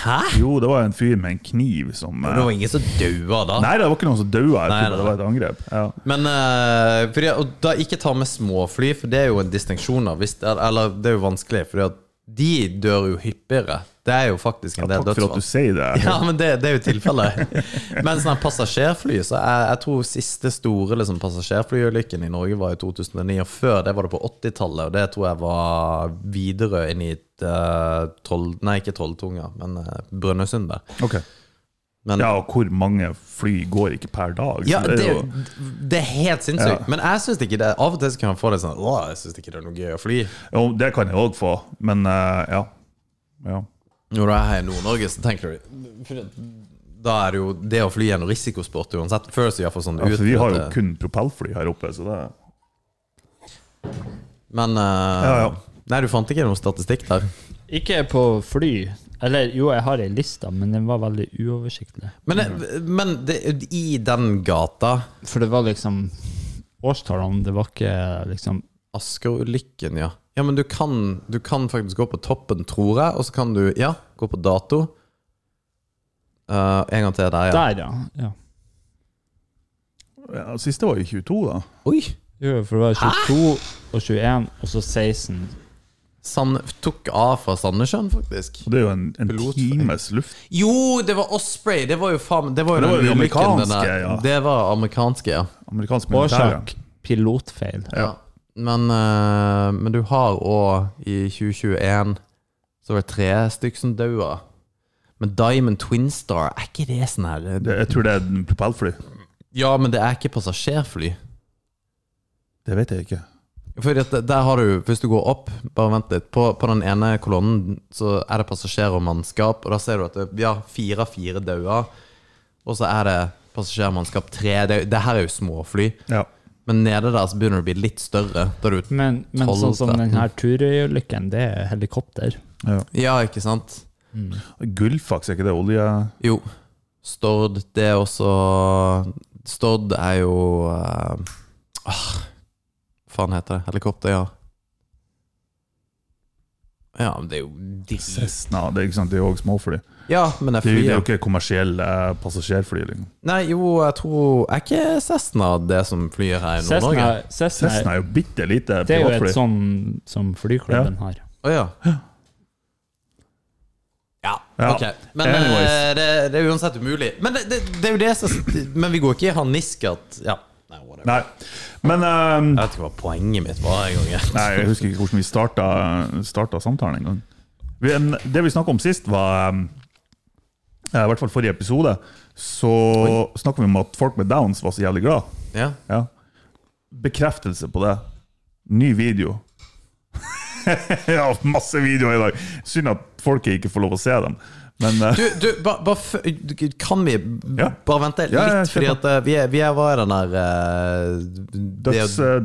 [SPEAKER 1] Hæ?
[SPEAKER 2] Jo, det var en fyr med en kniv som eh,
[SPEAKER 1] Det var ingen som daua da.
[SPEAKER 2] Nei, det var ikke noen som daua. Jeg
[SPEAKER 1] Nei,
[SPEAKER 2] tror
[SPEAKER 1] nei,
[SPEAKER 2] det var et angrep. Ja.
[SPEAKER 1] Men eh, fordi, og da ikke ta med småfly, for det er jo en distinksjon. da, hvis det er- Eller det er jo vanskelig, for de dør jo hyppigere. Det er jo faktisk en
[SPEAKER 2] Ja,
[SPEAKER 1] del
[SPEAKER 2] takk for at du
[SPEAKER 1] dødsfall.
[SPEAKER 2] sier det.
[SPEAKER 1] Ja, men det, det er jo tilfellet. Men sånn her passasjerfly så jeg, jeg tror siste store liksom, passasjerflyulykken i Norge var i 2009. Og før det var det på 80-tallet, og det tror jeg var Widerøe inn i et eh, troll... Nei, ikke Trolltunga, men eh, Brønnøysund der.
[SPEAKER 2] Ok.
[SPEAKER 1] Men-
[SPEAKER 2] ja, og hvor mange fly går ikke per dag?
[SPEAKER 1] Ja, det,
[SPEAKER 2] Så er
[SPEAKER 1] er
[SPEAKER 2] jo-
[SPEAKER 1] jo- det er helt sinnssykt. Men jeg synes ikke det Av og til så kan man få det sånn Å, jeg syns ikke det er noe gøy å fly.
[SPEAKER 2] jo, det kan jeg òg få, men eh, ja. ja.
[SPEAKER 1] Når du er her i Nord-Norge, så tenker du for Da er det jo det å fly er en risikosport uansett. Før så iallfall sånn
[SPEAKER 2] Altså, vi har jo
[SPEAKER 1] at-
[SPEAKER 2] kun propellfly her oppe, så det
[SPEAKER 1] Men eh,
[SPEAKER 2] Ja, ja.
[SPEAKER 1] Nei, du fant ikke noen statistikk der.
[SPEAKER 3] Ikke på fly. Eller jo, jeg har ei liste, men den var veldig uoversiktlig.
[SPEAKER 1] Men,
[SPEAKER 2] Mm.
[SPEAKER 1] eh, men det, i den gata
[SPEAKER 3] For det var liksom Årstallene, det var ikke liksom
[SPEAKER 1] Asker-ulykken, ja. Ja, men du kan, du kan faktisk gå på toppen, tror jeg, og så kan du Ja, gå på dato. Eh, en gang til der, ja.
[SPEAKER 3] Der, ja. ja.
[SPEAKER 2] Ja, siste var jo 22, da.
[SPEAKER 1] Oi!
[SPEAKER 3] Jo, for det var 22 og 21, og så 16.
[SPEAKER 1] Sand, tok av fra Sandnessjøen, faktisk.
[SPEAKER 2] Og det er jo en, en
[SPEAKER 1] Pilot-
[SPEAKER 2] times luft.
[SPEAKER 1] Jo, det var Osprey! Det var jo faen Det var jo
[SPEAKER 2] Det var
[SPEAKER 1] den
[SPEAKER 2] jo
[SPEAKER 1] ulykken, den
[SPEAKER 2] amerikanske,
[SPEAKER 1] der.
[SPEAKER 2] ja.
[SPEAKER 1] Det var amerikanske, ja.
[SPEAKER 2] Amerikansk militær.
[SPEAKER 3] Årsak pilotfeil.
[SPEAKER 1] Ja. Men, eh, men du har òg i 2021 så var det tre stykk som daua. Men Diamond Twin Star, er ikke det sånn her
[SPEAKER 2] Det- Jeg tror det er en propellfly.
[SPEAKER 1] Ja, men det er ikke passasjerfly.
[SPEAKER 2] Det vet jeg ikke.
[SPEAKER 1] Fordi at der har du, Hvis du går opp, bare vent litt På, på den ene kolonnen så er det passasjer og mannskap, og da ser du at det, ja, fire av fire daua. Og så er det passasjer og mannskap tre. Det, det her er jo småfly.
[SPEAKER 2] Ja.
[SPEAKER 1] Men nede der så begynner det å bli litt større. Der du,
[SPEAKER 3] Men, men
[SPEAKER 1] 12,
[SPEAKER 3] sånn som
[SPEAKER 1] 13.
[SPEAKER 3] den her Turøy-ulykken, det er helikopter.
[SPEAKER 1] ja, ikke sant?
[SPEAKER 2] Gullfaks, er ikke det olje...?
[SPEAKER 1] Jo. Stord, det er også Stord er jo eh, Åh, hva faen heter det? Helikopter, ja. Ja, men det er jo drit...
[SPEAKER 2] Cessna, det er ikke sant, det er jo også småfly.
[SPEAKER 1] Ja, men det er
[SPEAKER 2] Det er, jo- det er jo
[SPEAKER 1] flyet.
[SPEAKER 2] ikke kommersielle eh, passasjerfly. Liksom.
[SPEAKER 1] Nei, jo, jeg tror Er ikke Cessna det som flyr her i Nord-Norge?
[SPEAKER 3] Cessna, Cessna
[SPEAKER 2] Cessna er jo bitte lite
[SPEAKER 3] det er jo et
[SPEAKER 2] privatfly.
[SPEAKER 3] sånn som flyklubben har.
[SPEAKER 1] Å ja. Ja,
[SPEAKER 2] Ja.
[SPEAKER 1] ok. Men
[SPEAKER 2] Anyways.
[SPEAKER 1] eh, det, det er uansett umulig. Men det, det, det er jo det som Men vi går ikke i harnisk at Ja, nei, whatever.
[SPEAKER 2] Nei, men ehm,
[SPEAKER 1] Jeg vet ikke hva poenget mitt var en gang. jeg.
[SPEAKER 2] Nei, jeg husker ikke hvordan vi starta, starta samtalen engang. Det vi snakka om sist, var um, eh, I hvert fall forrige episode, så snakka vi om at folk med downs var så jævlig glad.
[SPEAKER 1] Ja.
[SPEAKER 2] Ja. Bekreftelse på det. Ny video. ja, masse videoer i dag. Synd at folket ikke får lov å se dem. Men eh,
[SPEAKER 1] Du, du ba, ba, fø- du- kan vi
[SPEAKER 2] Ja.
[SPEAKER 1] bare vente litt?
[SPEAKER 2] Ja, ja, kjør
[SPEAKER 1] fordi
[SPEAKER 2] på.
[SPEAKER 1] at eh, vi er, vi er hva er den der eh, det er-
[SPEAKER 2] døds, eh,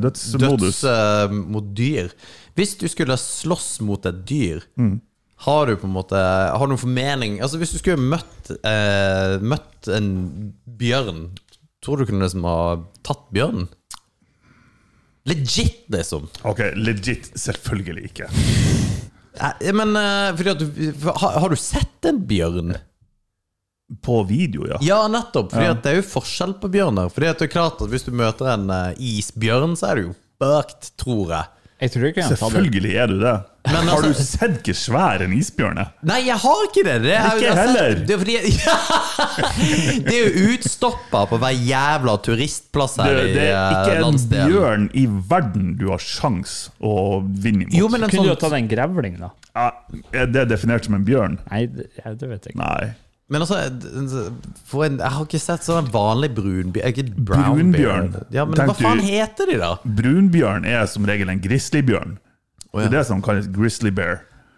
[SPEAKER 1] døds
[SPEAKER 2] dødsmodus.
[SPEAKER 1] eh, mot dyr. Hvis du skulle slåss mot et dyr,
[SPEAKER 2] Mm.
[SPEAKER 1] har du på en måte Har du noen formening Altså Hvis du skulle møtt, eh, møtt en bjørn, tror du kunne liksom ha tatt bjørnen? Legit, liksom.
[SPEAKER 2] Ok, legit. Selvfølgelig ikke.
[SPEAKER 1] Eh, Men eh, fordi at du, for, har, har du sett en bjørn?
[SPEAKER 2] På video, ja.
[SPEAKER 1] Ja, nettopp. Fordi at det er jo forskjell på bjørner. Fordi at det er klart at Hvis du møter en eh, isbjørn, så er du jo bøkt, tror jeg.
[SPEAKER 3] Jeg tror ikke han hadde
[SPEAKER 2] Selvfølgelig er du det.
[SPEAKER 1] Men
[SPEAKER 2] Har du
[SPEAKER 1] altså-
[SPEAKER 2] sett hvor svær en isbjørn er?
[SPEAKER 1] Nei, jeg har ikke det! det er,
[SPEAKER 2] Ikke
[SPEAKER 1] jeg har sett-
[SPEAKER 2] heller.
[SPEAKER 1] Det er, fordi, det er jo utstoppa på hver jævla turistplass her
[SPEAKER 2] Det, det
[SPEAKER 1] i
[SPEAKER 2] er
[SPEAKER 1] eh,
[SPEAKER 2] ikke en
[SPEAKER 1] landsdelen.
[SPEAKER 2] bjørn i verden du har sjans å vinne imot.
[SPEAKER 1] Jo, men en
[SPEAKER 3] Kunne du ha
[SPEAKER 1] sånn,
[SPEAKER 3] tatt en grevling, da?
[SPEAKER 2] Ja, er det definert som en bjørn?
[SPEAKER 3] Nei, det, ja, det vet jeg ikke.
[SPEAKER 2] Nei.
[SPEAKER 1] men altså for en, Jeg har ikke sett sånn vanlig brunbjørn ikke brown
[SPEAKER 2] Brunbjørn.
[SPEAKER 1] bear. Ja, men
[SPEAKER 2] Tenkte
[SPEAKER 1] hva faen
[SPEAKER 2] du-
[SPEAKER 1] heter de, da?
[SPEAKER 2] Brunbjørn er som regel en grizzlybjørn.
[SPEAKER 1] Å,
[SPEAKER 2] Det er
[SPEAKER 1] ja.
[SPEAKER 2] det som kalles grizzly bear.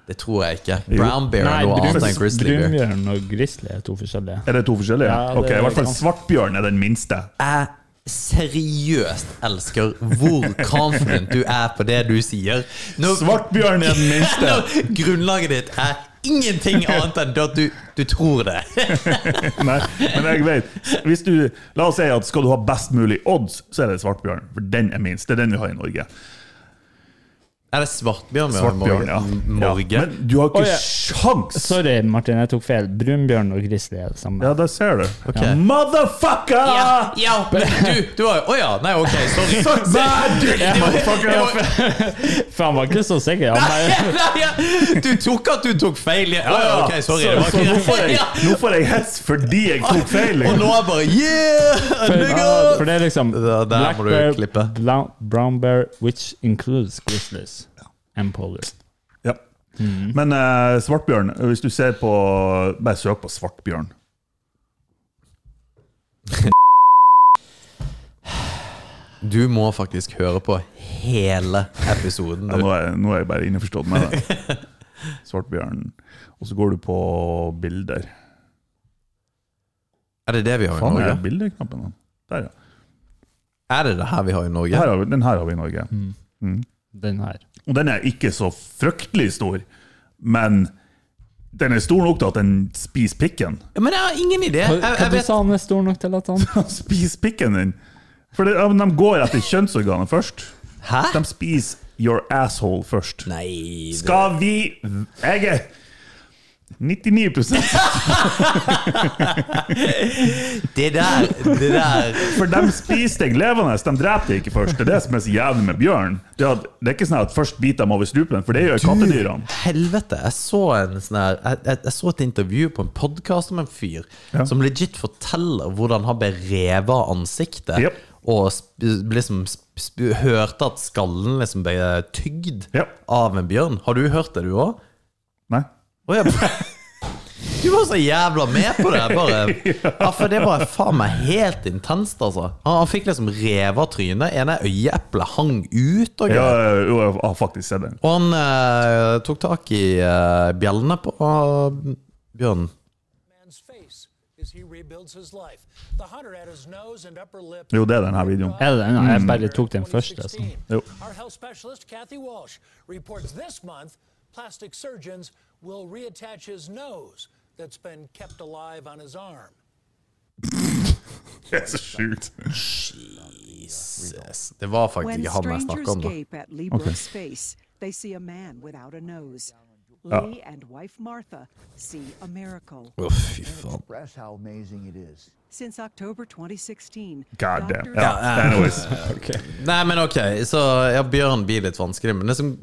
[SPEAKER 1] Det tror jeg ikke. Brown bear
[SPEAKER 3] Nei,
[SPEAKER 1] er noe annet
[SPEAKER 3] brun-
[SPEAKER 1] enn grizzly bear.
[SPEAKER 3] brunbjørn og grizzly er to forskjellige.
[SPEAKER 2] Er det to forskjellige?
[SPEAKER 3] Ja, det
[SPEAKER 2] ok,
[SPEAKER 3] er
[SPEAKER 2] I hvert fall
[SPEAKER 3] ganske-
[SPEAKER 2] svartbjørn er den minste.
[SPEAKER 1] jeg seriøst elsker hvor confident du er på det du sier. Når,
[SPEAKER 2] Svartbjørn er den minste!
[SPEAKER 1] når grunnlaget ditt er ingenting annet enn at du, du tror det.
[SPEAKER 2] Nei, men jeg vet. Hvis du, la oss si at skal du ha best mulig odds, så er det svartbjørn. For den er minst. Det er den vi har i Norge.
[SPEAKER 1] Er det svartbjørn? vi har i
[SPEAKER 2] Svartbjørn, ja.
[SPEAKER 1] Norge?
[SPEAKER 2] ja. Men du har
[SPEAKER 3] Å, ja.
[SPEAKER 2] ikke sjans!
[SPEAKER 3] Sorry, Martin, jeg tok feil. Brunbjørn og grizzly er det samme.
[SPEAKER 2] Ja, der ser du.
[SPEAKER 1] Ok.
[SPEAKER 2] Motherfucker!
[SPEAKER 1] Ja, ja, men du, du har jo Å ja, nei, ok, sorry.
[SPEAKER 2] Fuck that, you motherfucker!
[SPEAKER 1] Jeg må-
[SPEAKER 3] For han var ikke så sikker. Han bare,
[SPEAKER 1] Nei, ja, du tok at du tok feil. Ja, Å ja, ok, sorry.
[SPEAKER 2] Så,
[SPEAKER 1] Det var
[SPEAKER 2] så nå,
[SPEAKER 1] ikke
[SPEAKER 2] får jeg,
[SPEAKER 1] Ja.
[SPEAKER 2] nå får jeg hets fordi jeg tok feil.
[SPEAKER 1] Og nå er jeg bare Yeah!
[SPEAKER 3] for,
[SPEAKER 1] Nigga!
[SPEAKER 3] for det er liksom
[SPEAKER 1] Der- der
[SPEAKER 3] black
[SPEAKER 1] må du
[SPEAKER 3] bear,
[SPEAKER 1] klippe.
[SPEAKER 3] bla- brown bear, which includes grizzlies and polar.
[SPEAKER 2] Ja.
[SPEAKER 1] Mm.
[SPEAKER 2] Men eh, svartbjørn, hvis du ser på Bare søk på svartbjørn.
[SPEAKER 1] Du må faktisk høre på hele episoden.
[SPEAKER 2] Ja, nå, er, nå er jeg bare innforstått med det. Svartbjørn. Og så går du på bilder.
[SPEAKER 1] Er det det vi har i
[SPEAKER 2] Faen, er
[SPEAKER 1] Norge?
[SPEAKER 2] det bildeknappen? da? Der, ja.
[SPEAKER 1] Er det det her vi har i Norge?
[SPEAKER 2] Her har vi, den her har vi i Norge.
[SPEAKER 1] Mm.
[SPEAKER 3] Den her.
[SPEAKER 2] Og den er ikke så fryktelig stor, men den er stor nok til at den spiser pikken.
[SPEAKER 1] Ja, Men jeg har ingen idé. Jeg,
[SPEAKER 3] Hva, hva
[SPEAKER 1] jeg
[SPEAKER 3] du
[SPEAKER 1] vet,
[SPEAKER 3] sa han er stor nok til at han
[SPEAKER 2] Spis pikken din! For det, ja, men de går etter kjønnsorganet først.
[SPEAKER 1] Hæ?
[SPEAKER 2] De spiser your asshole først.
[SPEAKER 1] Nei det-
[SPEAKER 2] Skal vi Jeg er 99
[SPEAKER 1] Det der, det der
[SPEAKER 2] For de spiser deg levende. De dreper deg ikke først. Det er det som er så jævlig med bjørn. Det er, at, det er ikke sånn at først biter de over strupen, for det gjør kattedyrene.
[SPEAKER 1] Helvete, jeg så en sånn her jeg, jeg, jeg så et intervju på en podkast om en fyr
[SPEAKER 2] Ja.
[SPEAKER 1] som legit forteller hvordan han ble revet av ansiktet.
[SPEAKER 2] Jep.
[SPEAKER 1] Og sp liksom sp sp hørte at skallen liksom ble tygd
[SPEAKER 2] Jep.
[SPEAKER 1] av en bjørn. Har du hørt det, du òg?
[SPEAKER 2] Nei.
[SPEAKER 1] Du var så jævla med på det! Bare. Ja, for det var faen meg helt intenst, altså. Han, han fikk liksom revet av trynet. Ene øyeeplet hang ut og
[SPEAKER 2] Jeg,
[SPEAKER 1] greier.
[SPEAKER 2] har- jo, jeg har faktisk sett den.
[SPEAKER 1] Og han eh, tok tak i eh, bjellene på eh, bjørnen.
[SPEAKER 7] man's face as he rebuilds his life. The hunter had his nose and upper lip.
[SPEAKER 2] Jo, det er den her videoen.
[SPEAKER 3] Er det den? Nei, Jeg bare tok
[SPEAKER 7] Mm.
[SPEAKER 3] den første. altså. Så.
[SPEAKER 2] Jo.
[SPEAKER 7] Our health specialist Kathy Walsh reports this month plastic surgeons will reattach his nose that's been kept alive on his arm.
[SPEAKER 2] Det er så sjukt.
[SPEAKER 1] Jesus. Det var faktisk
[SPEAKER 8] When
[SPEAKER 1] ikke han jeg
[SPEAKER 8] strangers
[SPEAKER 1] snakka om. da.
[SPEAKER 8] gape at Lee Brooks' face, Uh. they see a man without a nose. Lee and wife Martha see a miracle.
[SPEAKER 1] Å, fy faen.
[SPEAKER 6] That's how amazing it is.
[SPEAKER 8] Since October 2016,
[SPEAKER 2] God damn.
[SPEAKER 8] doctors-
[SPEAKER 2] Ja, anyways.
[SPEAKER 1] Nei, men ok, så ja, bjørn blir litt vanskelig. Men det som,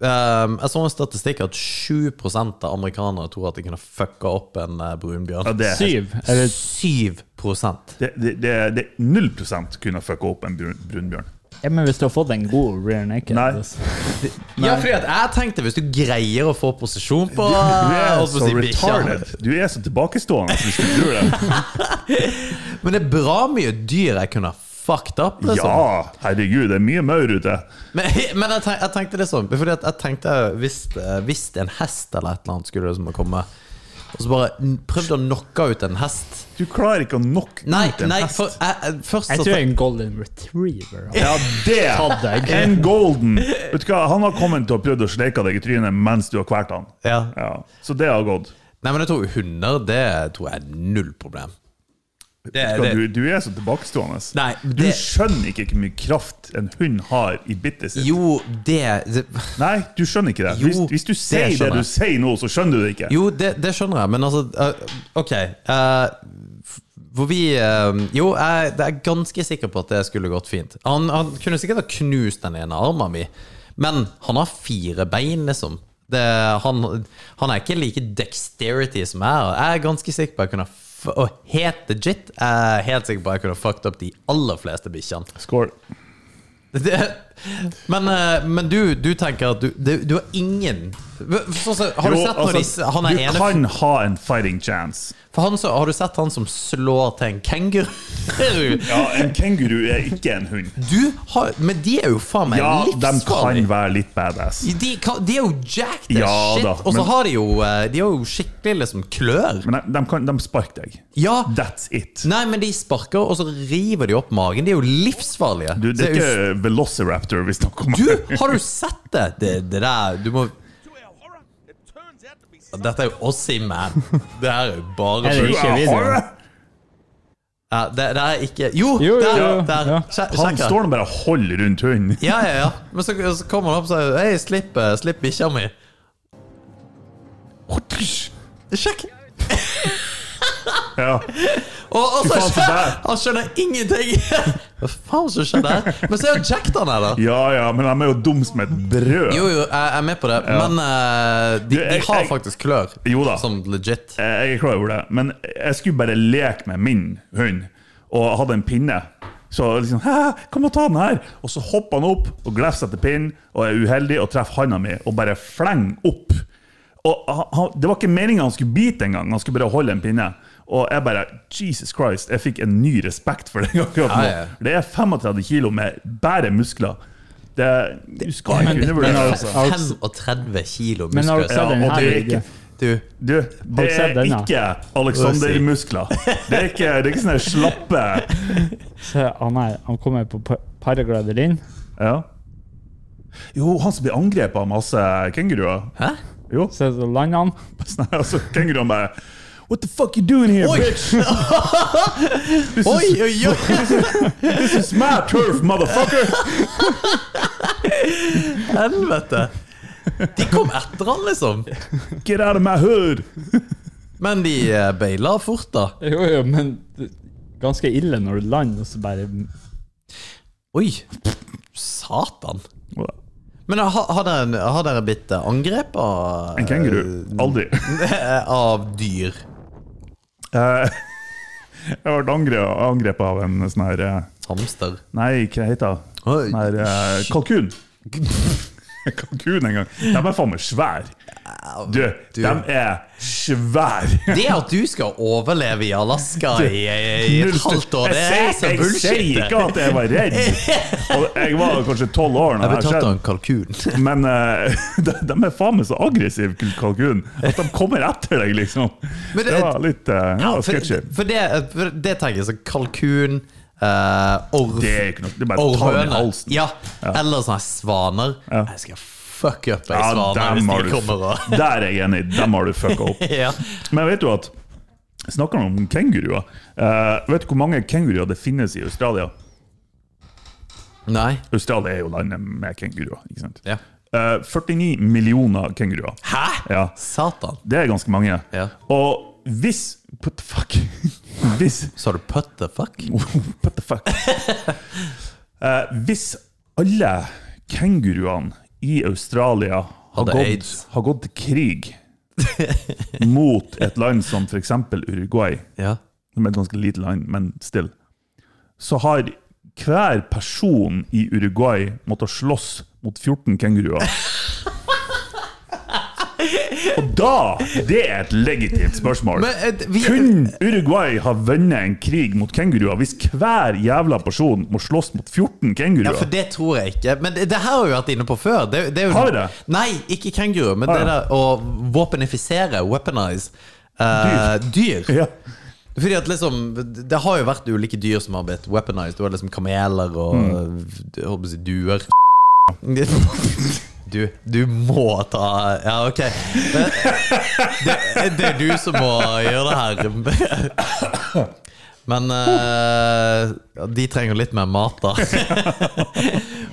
[SPEAKER 1] ehm, jeg så en statistikk at 7 av amerikanere tror at de kunne fucka opp en eh,
[SPEAKER 2] Ja,
[SPEAKER 1] brunbjørn.
[SPEAKER 2] det, er-
[SPEAKER 3] Syv. Eller
[SPEAKER 1] 7
[SPEAKER 2] det, det, det, det er 0 kunne fucka opp en brun, brunbjørn.
[SPEAKER 3] ja, men hvis du har fått en god rear naked
[SPEAKER 2] Nei.
[SPEAKER 3] altså.
[SPEAKER 1] Ja, fordi at jeg tenkte hvis du greier å få posisjon på
[SPEAKER 2] Du er
[SPEAKER 1] og
[SPEAKER 2] så
[SPEAKER 1] si bikkja.
[SPEAKER 2] retarded. Du er så tilbakestående hvis du tror det.
[SPEAKER 1] Men det er bra mye dyr jeg kunne ha fucked up. Liksom.
[SPEAKER 2] Ja, herregud, det er mye maur ute.
[SPEAKER 1] Men, men jeg, tenk, jeg tenkte det sånn Fordi at jeg tenkte hvis, eh, hvis en hest eller et eller annet skulle liksom komme Og så bare n- prøvde å knocke ut en hest
[SPEAKER 2] Du klarer ikke å knocke
[SPEAKER 1] Nei,
[SPEAKER 2] ut en
[SPEAKER 1] nei
[SPEAKER 2] hest.
[SPEAKER 1] for, jeg, jeg, først
[SPEAKER 3] Jeg
[SPEAKER 1] så
[SPEAKER 3] tror jeg er en golden retriever. altså.
[SPEAKER 2] Ja, det!
[SPEAKER 3] Hadde jeg.
[SPEAKER 2] En golden. Vet du hva, Han har kommet til å prøve å sleike deg i trynet mens du har kvalt han.
[SPEAKER 1] ja.
[SPEAKER 2] Ja, så det har gått.
[SPEAKER 1] Nei, men jeg tror hunder Det tror jeg er null problem det,
[SPEAKER 2] Vet du, hva,
[SPEAKER 1] det,
[SPEAKER 2] du, du er så tilbakestående.
[SPEAKER 1] Nei,
[SPEAKER 2] Du
[SPEAKER 1] det-
[SPEAKER 2] skjønner ikke hvor mye kraft en hund har i bittet sitt.
[SPEAKER 1] Jo, det, det
[SPEAKER 2] Nei, du skjønner ikke det. Hvis,
[SPEAKER 1] Jo,
[SPEAKER 2] hvis du
[SPEAKER 1] det
[SPEAKER 2] sier det,
[SPEAKER 1] skjønner
[SPEAKER 2] du sier nå, så skjønner du det ikke.
[SPEAKER 1] Jo, det, det skjønner jeg Men altså, eh, ok eh, f- hvor vi eh, Jo, jeg, jeg er ganske sikker på at det skulle gått fint Han, han kunne sikkert ha knust den ene armen min Men han har fire bein liksom det, han, han er ikke like dexterity som jeg er Jeg er ganske sikker på at jeg kunne f- Og helt legit Jeg er helt sikker på at jeg kunne fucked opp de aller fleste bikkjene
[SPEAKER 2] Skål.
[SPEAKER 1] det, men, eh, men du, du tenker at du, det- du har ingen sånn som- Har du
[SPEAKER 2] Jo,
[SPEAKER 1] sett når
[SPEAKER 2] altså,
[SPEAKER 1] de, han er
[SPEAKER 2] du
[SPEAKER 1] ene
[SPEAKER 2] kan ha en fighting chance.
[SPEAKER 1] For han, så, Har du sett han som slår til en kenguru?
[SPEAKER 2] Ja, En kenguru er ikke en hund.
[SPEAKER 1] Du har, men de er jo faen meg
[SPEAKER 2] Ja, de kan
[SPEAKER 1] livsfarlige.
[SPEAKER 2] være litt badass.
[SPEAKER 1] De, kan- de er jo jacked as
[SPEAKER 2] Ja
[SPEAKER 1] shit,
[SPEAKER 2] da,
[SPEAKER 1] og så
[SPEAKER 2] men-
[SPEAKER 1] har de jo eh, De har jo skikkelig liksom klør.
[SPEAKER 2] Men de, de, kan, de sparker deg.
[SPEAKER 1] Ja,
[SPEAKER 2] That's it.
[SPEAKER 1] Nei, men de sparker, og så river de opp magen. De er jo livsfarlige.
[SPEAKER 2] Du, det er
[SPEAKER 1] jo-
[SPEAKER 2] ikke Velociraptor vi snakker om.
[SPEAKER 1] du, har du sett det? Det, det der Du må Dette er jo Ossie Man. Det her er jo bare
[SPEAKER 3] Er det
[SPEAKER 1] sjukt.
[SPEAKER 3] ikke videoen?
[SPEAKER 1] ja, det, det er ikke Jo,
[SPEAKER 3] Jo, jo,
[SPEAKER 1] der!
[SPEAKER 3] jo,
[SPEAKER 1] der.
[SPEAKER 3] ja.
[SPEAKER 1] Sje-
[SPEAKER 2] Han
[SPEAKER 1] Sjekk det.
[SPEAKER 2] står nå bare og holder rundt hunden.
[SPEAKER 1] Ja, ja, ja. Men så, så kommer han opp og sier Hei, slipp, eh, slipp bikkja mi. Sjekk!
[SPEAKER 2] Ja.
[SPEAKER 1] Og, og
[SPEAKER 2] Fy
[SPEAKER 1] så
[SPEAKER 2] faen, så der.
[SPEAKER 1] Han skjønner ingenting! Hva faen som skjedde her? Men så er jo Jack der nede.
[SPEAKER 2] ja ja, men de er jo dumme som et brød.
[SPEAKER 1] Jo, jo, jeg jeg er med på det, men eh, de,
[SPEAKER 2] Du,
[SPEAKER 1] de
[SPEAKER 2] jeg-
[SPEAKER 1] har
[SPEAKER 2] jeg-
[SPEAKER 1] faktisk klør.
[SPEAKER 2] Jo da.
[SPEAKER 1] Sånn legit.
[SPEAKER 2] Eh, Jeg er klar over det, men jeg skulle bare leke med min hund, og hadde en pinne. Så liksom Hæ, kom og ta den her! Og så hopper han opp og glefser etter pinnen, og er uheldig og treffer handa mi, og bare flenger opp. Og han, han- det var ikke meninga han skulle bite engang, han skulle bare holde en pinne. Og jeg bare Jesus Christ, jeg fikk en ny respekt for det akkurat nå.
[SPEAKER 1] Ja, ja.
[SPEAKER 2] Det er 35 kilo med bare muskler. Det, du skal ikke undervurdere det. Altså.
[SPEAKER 3] Har du-
[SPEAKER 1] 35 kilo
[SPEAKER 3] Men har du
[SPEAKER 1] muskler.
[SPEAKER 3] sett den
[SPEAKER 2] Ja, og
[SPEAKER 3] her?
[SPEAKER 2] det er ikke-
[SPEAKER 3] videoen?
[SPEAKER 1] Du,
[SPEAKER 2] Du, det
[SPEAKER 3] du sett
[SPEAKER 2] er
[SPEAKER 3] den, da?
[SPEAKER 2] ikke Alexander-muskler. Det er ikke, det er ikke sånne slappe
[SPEAKER 3] Se, Han, er, ah, han kommer på pa- paraglideren.
[SPEAKER 2] ja. Jo, han som blir angrepet av masse kenguruer.
[SPEAKER 1] hæ?
[SPEAKER 2] Jo,
[SPEAKER 3] Se, så lander han.
[SPEAKER 2] sånn her, altså, kenguruene bare What the fuck you doing here,
[SPEAKER 1] Oi!
[SPEAKER 2] bitch?
[SPEAKER 1] Oi, oi, oi!
[SPEAKER 2] This is my turf, motherfucker!
[SPEAKER 1] Helvete! De kom etter han, liksom.
[SPEAKER 2] Get out of my hood!
[SPEAKER 1] Men de eh, baila fort, da.
[SPEAKER 3] Jo, jo, men det- ganske ille når du lander, og så bare
[SPEAKER 1] Oi! Satan. Men har, har, dere, har dere blitt eh, angrepet av
[SPEAKER 2] En kenguru.
[SPEAKER 3] Eh,
[SPEAKER 2] Aldri.
[SPEAKER 1] Av dyr?
[SPEAKER 2] Eh, Jeg har vært angre- angrepet av en sånn her eh,
[SPEAKER 1] Hamster?
[SPEAKER 2] Nei, hva heter det?
[SPEAKER 1] Oi.
[SPEAKER 2] Sånn her eh, kalkun. kalkun en gang. De er faen meg svære. Du,
[SPEAKER 1] du.
[SPEAKER 2] de er svære!
[SPEAKER 1] Det at du skal overleve i Alaska i, i et halvt år, det er
[SPEAKER 2] Jeg
[SPEAKER 1] så
[SPEAKER 2] sier- Jeg sier
[SPEAKER 1] bullshit.
[SPEAKER 2] ikke at jeg var redd. Og jeg var kanskje tolv år da
[SPEAKER 1] Jeg ble tatt
[SPEAKER 2] det her
[SPEAKER 1] av
[SPEAKER 2] skjedde.
[SPEAKER 1] en kalkun.
[SPEAKER 2] Men eh, de, de er faen meg så aggressive, kalkun, at de kommer etter deg, liksom.
[SPEAKER 1] Men
[SPEAKER 2] Det,
[SPEAKER 1] det-
[SPEAKER 2] var litt uh, ja,
[SPEAKER 1] for,
[SPEAKER 2] sketchy.
[SPEAKER 1] for, det, for det tenker jeg så kalkun, eh, orv
[SPEAKER 2] Det er ikke noe, det er bare å ta den i halsen.
[SPEAKER 1] Ja, eller sånne svaner.
[SPEAKER 2] Ja.
[SPEAKER 1] Jeg skal fuck up ei
[SPEAKER 2] Ja,
[SPEAKER 1] svane
[SPEAKER 2] dem
[SPEAKER 1] hvis de
[SPEAKER 2] har du,
[SPEAKER 1] kommer og
[SPEAKER 2] der er jeg enig, dem har du fucka opp.
[SPEAKER 1] Ja.
[SPEAKER 2] Men vet du at Snakker man om kenguruer eh, Vet du hvor mange kenguruer det finnes i Australia?
[SPEAKER 1] Nei.
[SPEAKER 2] Australia er jo landet med kenguruer. ikke sant?
[SPEAKER 1] Ja.
[SPEAKER 2] Eh, 49 millioner kenguruer.
[SPEAKER 1] Hæ?!
[SPEAKER 2] Ja,
[SPEAKER 1] Satan.
[SPEAKER 2] Det er ganske mange.
[SPEAKER 1] Ja.
[SPEAKER 2] Og hvis What the fuck? Hvis
[SPEAKER 1] Sa du put the fuck?
[SPEAKER 2] What the fuck? Eh, hvis alle kenguruene i Australia har
[SPEAKER 1] Hadde
[SPEAKER 2] gått,
[SPEAKER 1] AIDS.
[SPEAKER 2] har gått til krig mot et land som f.eks. Uruguay,
[SPEAKER 1] Ja.
[SPEAKER 2] som er et ganske lite land, men still, så har hver person i Uruguay måttet slåss mot 14 kenguruer. Og da Det er et legitimt spørsmål.
[SPEAKER 1] Men, eh, vi-
[SPEAKER 2] Kunne Uruguay ha vunnet en krig mot kenguruer hvis hver jævla person må slåss mot 14
[SPEAKER 1] Ja,
[SPEAKER 2] kenguruer?
[SPEAKER 1] for det tror jeg ikke. Men det, det her har vi vært inne på før. Det, det er jo,
[SPEAKER 2] Har vi det?
[SPEAKER 1] Nei, ikke kenguru, men
[SPEAKER 2] Ah,
[SPEAKER 1] det
[SPEAKER 2] ja.
[SPEAKER 1] der å våpenifisere, weaponize, eh, dyr.
[SPEAKER 2] Ja.
[SPEAKER 1] Fordi at liksom, Det har jo vært ulike dyr som har blitt weaponized. Du har liksom kameler og
[SPEAKER 2] Mm.
[SPEAKER 1] jeg håper å si duer. Du, du må ta Ja, OK. Det, det, det er du som må gjøre det her. Men eh, ja, De trenger litt mer mat, da.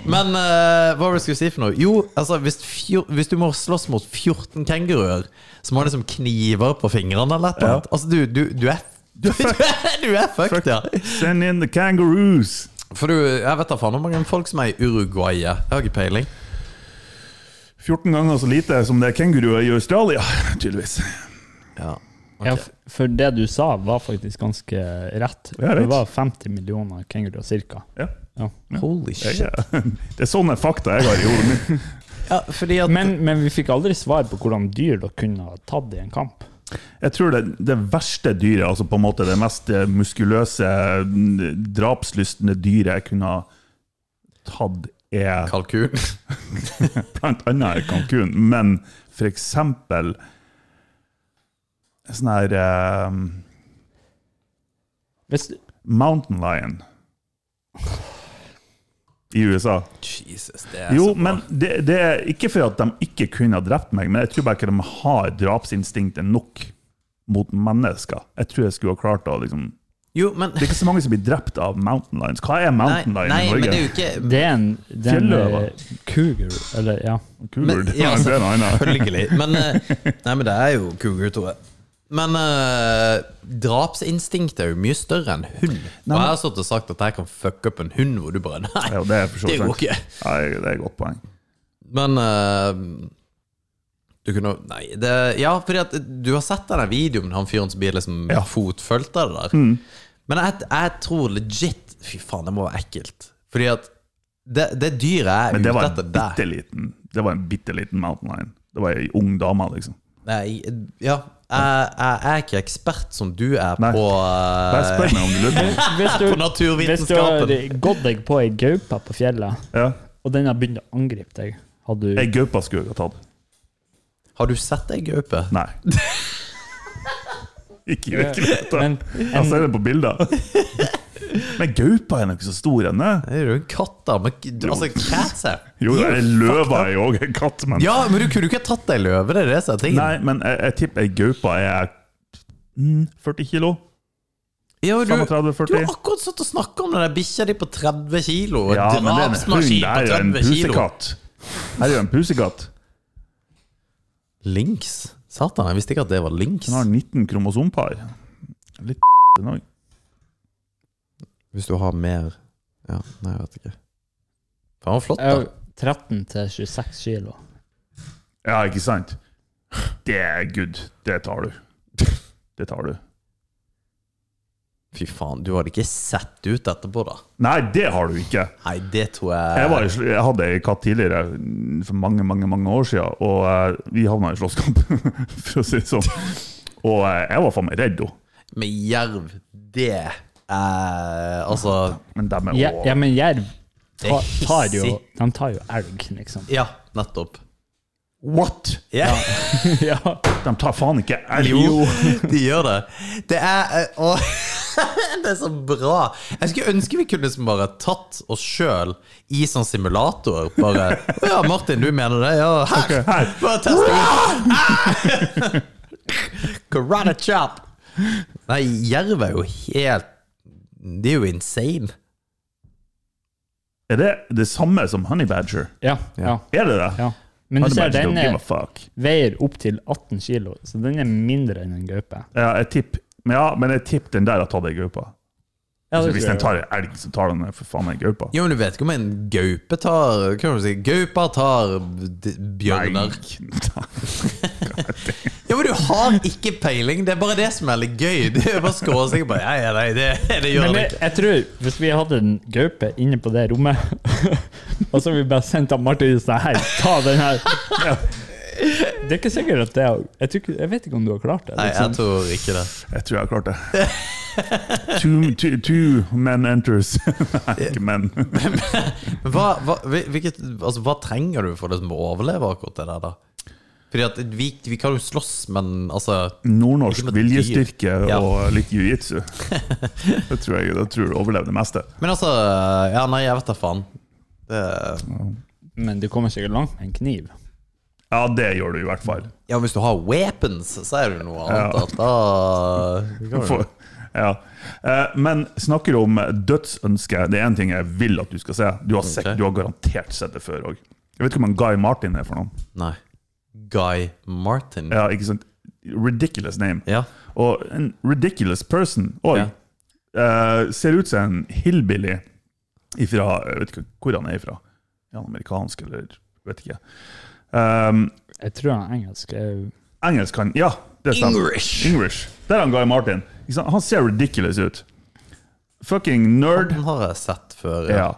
[SPEAKER 1] Men eh, hva var det jeg skulle si for noe? Jo, altså hvis, fjor, hvis du må slåss mot 14 kenguruer som har liksom kniver på fingrene eller et eller annet Altså, du, du, du er du er, du er fucked, ja.
[SPEAKER 2] Send in the kangaroos!
[SPEAKER 1] For du, jeg vet da faen hvor mange folk som er i Uruguay. Jeg har ikke peiling.
[SPEAKER 2] 14 ganger så lite som det er kenguruer i Australia, tydeligvis.
[SPEAKER 1] Ja.
[SPEAKER 3] Ja, f- for det du sa, var faktisk ganske rett.
[SPEAKER 2] Ja, jeg
[SPEAKER 3] Det
[SPEAKER 2] vet.
[SPEAKER 3] var 50 millioner kenguruer, cirka.
[SPEAKER 2] Ja.
[SPEAKER 3] Ja.
[SPEAKER 1] Holy shit.
[SPEAKER 2] Ja. Det er sånne fakta jeg har i hodet mitt.
[SPEAKER 1] Ja, fordi at
[SPEAKER 3] Men, men vi fikk aldri svar på hvordan dyr dere kunne ha tatt i en kamp.
[SPEAKER 2] Jeg tror det, det verste dyret, altså på en måte det mest eh, muskuløse, mm, drapslystne dyret jeg kunne ha tatt, er
[SPEAKER 1] Kalkun.
[SPEAKER 2] blant annet kalkun, men for eksempel sånn her eh,
[SPEAKER 3] Hvis,
[SPEAKER 2] mountain lion i USA.
[SPEAKER 1] Jesus, det er
[SPEAKER 2] Jo,
[SPEAKER 1] så bra.
[SPEAKER 2] men det, det er ikke for at de ikke kunne ha drept meg, men jeg tror bare ikke de har drapsinstinktet nok mot mennesker. Jeg tror jeg skulle ha klart å liksom
[SPEAKER 1] jo, men
[SPEAKER 2] Det er ikke så mange som blir drept av mountain lions. Hva er
[SPEAKER 1] Nei,
[SPEAKER 2] mountain lion
[SPEAKER 1] nei,
[SPEAKER 2] i
[SPEAKER 1] men
[SPEAKER 2] Norge?
[SPEAKER 1] det er jo ikke
[SPEAKER 3] det er en, det er en
[SPEAKER 2] Fjelløver.
[SPEAKER 3] eh, cougar, eller ja.
[SPEAKER 2] Cougar,
[SPEAKER 1] Men-
[SPEAKER 2] det
[SPEAKER 1] ja, altså,
[SPEAKER 2] var- det er noe annet.
[SPEAKER 1] Selvfølgelig. Men, eh, nei, men det er jo cougar, tror jeg. Men eh, drapsinstinktet er jo mye større enn hund. og jeg har stått og sagt at jeg kan fucke opp en hund hvor du bare Nei,
[SPEAKER 2] Ja, det er for så
[SPEAKER 1] det
[SPEAKER 2] vidt
[SPEAKER 1] går
[SPEAKER 2] sant.
[SPEAKER 1] ikke.
[SPEAKER 2] Ja, det er et godt poeng.
[SPEAKER 1] Men eh, du kunne Nei, det Ja, fordi at du har sett den der videoen med han fyren som blir liksom
[SPEAKER 2] Ja. Mm.
[SPEAKER 1] fotfulgt av det der. Men jeg, jeg tror legit Fy faen, det må være ekkelt. Fordi at det, det dyret
[SPEAKER 2] Men
[SPEAKER 1] er
[SPEAKER 2] det
[SPEAKER 1] ute
[SPEAKER 2] var
[SPEAKER 1] etter
[SPEAKER 2] en
[SPEAKER 1] deg
[SPEAKER 2] bitte liten, det var en bitte liten mountain lion. Det var ei ung dame, liksom.
[SPEAKER 1] Nei, ja jeg, jeg er ikke ekspert som du er
[SPEAKER 2] Nei.
[SPEAKER 1] på
[SPEAKER 2] Bare
[SPEAKER 1] eh,
[SPEAKER 2] spør meg om du lurer.
[SPEAKER 1] På
[SPEAKER 3] Hvis du, hvis du har
[SPEAKER 1] naturvitenskapen.
[SPEAKER 3] gått deg på ei gaupe på fjellet,
[SPEAKER 2] Ja.
[SPEAKER 3] og den har begynt å angripe deg, hadde
[SPEAKER 2] Ei
[SPEAKER 3] du
[SPEAKER 2] gaupe skulle jeg ha tatt.
[SPEAKER 1] Har du sett ei gaupe?
[SPEAKER 2] Nei. Ikke i virkeligheten.
[SPEAKER 3] Men
[SPEAKER 2] Jeg ser
[SPEAKER 3] en,
[SPEAKER 2] det på bilder. Men gaupa er nå ikke så stor ennå.
[SPEAKER 1] Det er jo en katt, da. Men, du, altså, cats er
[SPEAKER 2] Jo, det er løva er jo òg en katt, men
[SPEAKER 1] Ja, men du kunne jo ikke tatt ei løve, det er det som er tingen.
[SPEAKER 2] Nei, men jeg, jeg tipper ei gaupe er mm, 40 kilo.
[SPEAKER 1] Jo, du,
[SPEAKER 2] 35-40.
[SPEAKER 1] du har akkurat satt og snakka om den der bikkja di på 30 kilo.
[SPEAKER 2] Ja, men det er en hund.
[SPEAKER 1] Drapsmaskin
[SPEAKER 2] Det
[SPEAKER 1] på
[SPEAKER 2] er jo en
[SPEAKER 1] 30 kilo.
[SPEAKER 2] pusekatt. Det er jo en pusekatt.
[SPEAKER 1] Links? Satan, jeg visste ikke at det var links.
[SPEAKER 2] Den har 19 kromosompar. Litt den òg.
[SPEAKER 1] Hvis du har mer Ja, nei, jeg vet ikke. Faen, var flott,
[SPEAKER 3] Jeg er
[SPEAKER 1] da.
[SPEAKER 3] jo 13 til 26 kilo.
[SPEAKER 2] Ja, ikke sant? Det er good. Det tar du. Det tar du.
[SPEAKER 1] Fy faen, du hadde ikke sett ut etterpå, da.
[SPEAKER 2] Nei, det har du ikke.
[SPEAKER 1] Nei, det tror jeg
[SPEAKER 2] Jeg, var, i sl- jeg hadde ei katt tidligere, for mange mange, mange år siden, og eh, vi havna i slåsskamp, for å si det sånn. Og eh, jeg var faen meg redd henne.
[SPEAKER 1] Med jerv, det eh, Altså
[SPEAKER 2] Men dem er
[SPEAKER 3] Ja,
[SPEAKER 2] også-
[SPEAKER 3] ja men jerv
[SPEAKER 1] Det er
[SPEAKER 3] ta, tar jo
[SPEAKER 1] hissig.
[SPEAKER 3] De tar jo elg, liksom.
[SPEAKER 1] Ja, nettopp.
[SPEAKER 2] What?!
[SPEAKER 1] Ja,
[SPEAKER 3] Ja.
[SPEAKER 2] De tar faen ikke elg!
[SPEAKER 1] jo, de gjør det. Det er eh, og, Det er så bra. Jeg skulle ønske vi kunne liksom bare tatt oss sjøl i sånn simulator. Bare Å ja, Martin, du mener det? Ja, her!
[SPEAKER 2] her.
[SPEAKER 1] Bare test det ut. Ah! Karate chop. Nei, jerv er jo helt De er jo insane.
[SPEAKER 2] Er det det samme som honey badger?
[SPEAKER 3] Ja, ja,
[SPEAKER 2] Er det det?
[SPEAKER 3] ja. Men du
[SPEAKER 2] Honey
[SPEAKER 3] ser,
[SPEAKER 2] badger
[SPEAKER 3] den eh,
[SPEAKER 2] don't give
[SPEAKER 3] er,
[SPEAKER 2] a fuck.
[SPEAKER 3] veier opptil 18 kilo, så den er mindre enn en gaupe.
[SPEAKER 2] Ja, jeg tipper ja, men jeg tipper den der har tatt ei gaupe.
[SPEAKER 3] Ja, det
[SPEAKER 2] Altså, Hvis
[SPEAKER 3] tror
[SPEAKER 2] den
[SPEAKER 3] jeg.
[SPEAKER 2] tar en elg, så tar den for faen ei gaupe.
[SPEAKER 1] Jo, men du vet ikke om en gaupe tar Hva kan du si? Gaupa tar d- bjørner. Ja, men du har ikke peiling. Det er bare det som er litt gøy. Det er bare skråsikker på Ja, ja, nei, det, det gjør
[SPEAKER 3] Men
[SPEAKER 1] det
[SPEAKER 3] jeg,
[SPEAKER 1] ikke.
[SPEAKER 3] jeg tror, hvis vi hadde en gaupe inne på det rommet, og så hadde vi bare sendt han Martin ut sånn her, ta den her. Ja. Det er ikke sikkert at det er jeg, tror ikke, jeg vet ikke om du har klart det.
[SPEAKER 1] Nei, jeg
[SPEAKER 3] Liksom.
[SPEAKER 1] tror ikke det.
[SPEAKER 2] Jeg tror jeg har klart det. Two, two, two men enters. Nei, ikke men.
[SPEAKER 1] Men hva, hva, hvil- hvilket, altså, hva trenger du for liksom, å overleve akkurat det der, da? Fordi at vi, vi kan jo slåss, men altså
[SPEAKER 2] Mm.
[SPEAKER 1] Ikke
[SPEAKER 2] Nordnorsk
[SPEAKER 1] med
[SPEAKER 2] viljestyrke
[SPEAKER 1] dyr. Ja.
[SPEAKER 2] og litt jiu-jitsu. Det tror jeg, det tror du overlever det meste.
[SPEAKER 1] Men altså Ja, nei, jeg vet da faen. Det,
[SPEAKER 3] Men du kommer sikkert langt med en kniv.
[SPEAKER 2] Ja, det gjør du i hvert fall.
[SPEAKER 1] ja, hvis du har weapons, så er det noe annet.
[SPEAKER 2] Ja.
[SPEAKER 1] At, da
[SPEAKER 2] For, ja. Eh, Men snakker du om dødsønske, det er én ting jeg vil at du skal se. Du har, sett,
[SPEAKER 1] Ok.
[SPEAKER 2] du har garantert sett det før òg. Jeg vet ikke om han Guy Martin er for noen.
[SPEAKER 1] Nei. Guy Martin.
[SPEAKER 2] Ja, ikke sant? Ridiculous name.
[SPEAKER 1] Ja.
[SPEAKER 2] Og en ridiculous person òg.
[SPEAKER 1] Ja.
[SPEAKER 2] Eh, ser ut som en hillbilly ifra Jeg vet ikke hvor han er ifra. Er han amerikansk, eller jeg vet ikke. Um,
[SPEAKER 3] Jeg tror han er engelsk. eh, Jeg-
[SPEAKER 2] engelsk kan Ja, det stemmer.
[SPEAKER 1] English.
[SPEAKER 2] English. Der er han Guy Martin. Ikke sant? Han ser ridiculous ut. Fucking nerd.
[SPEAKER 1] Den har jeg sett før.
[SPEAKER 2] Ja.
[SPEAKER 1] Ja.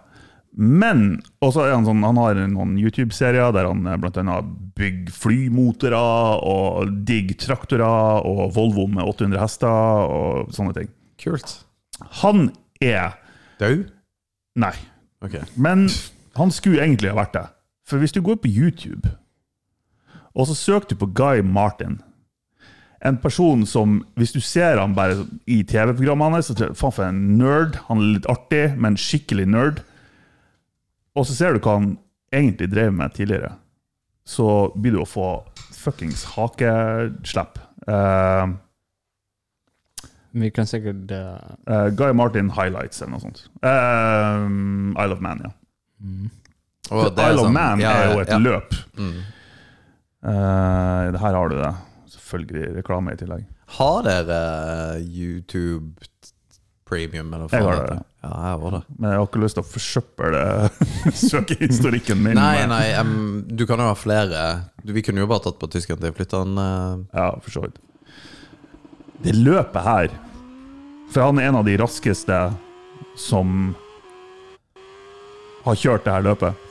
[SPEAKER 2] Men og så er han sånn, han har noen YouTube-serier der han eh, blant annet bygger flymotorer og digger traktorer og Volvo med 800 hester og sånne ting.
[SPEAKER 1] Kult.
[SPEAKER 2] Han er
[SPEAKER 1] Dau?
[SPEAKER 2] Nei.
[SPEAKER 1] Ok.
[SPEAKER 2] Men han skulle egentlig ha vært det. For hvis du går på YouTube, og så søker du på Guy Martin En person som, hvis du ser han bare i TV-programmene hans, så tror jeg, faen for en nerd. Han er litt artig, men skikkelig nerd. Og så ser du hva han egentlig drev med tidligere. Så blir du å få fuckings hakeslepp. Eh,
[SPEAKER 3] Vi kan sikkert eh,
[SPEAKER 2] eh, Guy Martin highlights eller noe sånt. Eh, Isle of Man, ja.
[SPEAKER 3] mm.
[SPEAKER 1] Og det
[SPEAKER 2] Isle of
[SPEAKER 1] sånn-
[SPEAKER 2] Man
[SPEAKER 1] ja,
[SPEAKER 2] er jo et
[SPEAKER 1] ja. Mm.
[SPEAKER 2] løp. Eh, her har du det. Selvfølgelig reklame i tillegg.
[SPEAKER 1] Har dere eh, YouTube Premium? Eller hva
[SPEAKER 2] Jeg
[SPEAKER 1] faen
[SPEAKER 2] har
[SPEAKER 1] heter
[SPEAKER 2] det.
[SPEAKER 1] Ja, jeg har det.
[SPEAKER 2] Men jeg har ikke lyst til å forsøple søkehistorikken min. eh.
[SPEAKER 1] Nei,
[SPEAKER 2] med-
[SPEAKER 1] nei, em, du kan jo ha flere. Du, vi kunne jo bare tatt på tyskeren til flytteren. eh.
[SPEAKER 2] Ja, for så vidt. Det løpet her For han er en av de raskeste som har kjørt det her løpet.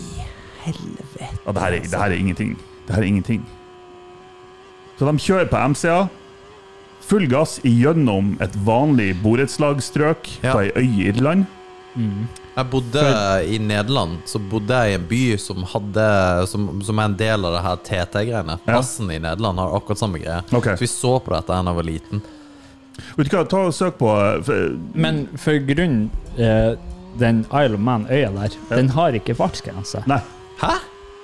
[SPEAKER 2] Fytti helvete. Ja, det her, er, det her er ingenting. Det her er ingenting. Så de kjører på MC-a. Full gass gjennom et vanlig borettslagsstrøk
[SPEAKER 1] Ja.
[SPEAKER 2] på ei øy i Irland.
[SPEAKER 1] Jeg bodde i Nederland, så bodde jeg i en by som hadde Som, som er en del av det her TT-greiene. Plassen i Nederland har akkurat samme greie.
[SPEAKER 2] Ok.
[SPEAKER 1] Så vi så på dette da jeg var liten.
[SPEAKER 2] Vet du hva, ta og søk på eh, f-
[SPEAKER 3] Men for grunnen, eh, den Isle of Man-øya der, den har ikke fartsgrense.
[SPEAKER 2] Nei,
[SPEAKER 1] Hæ?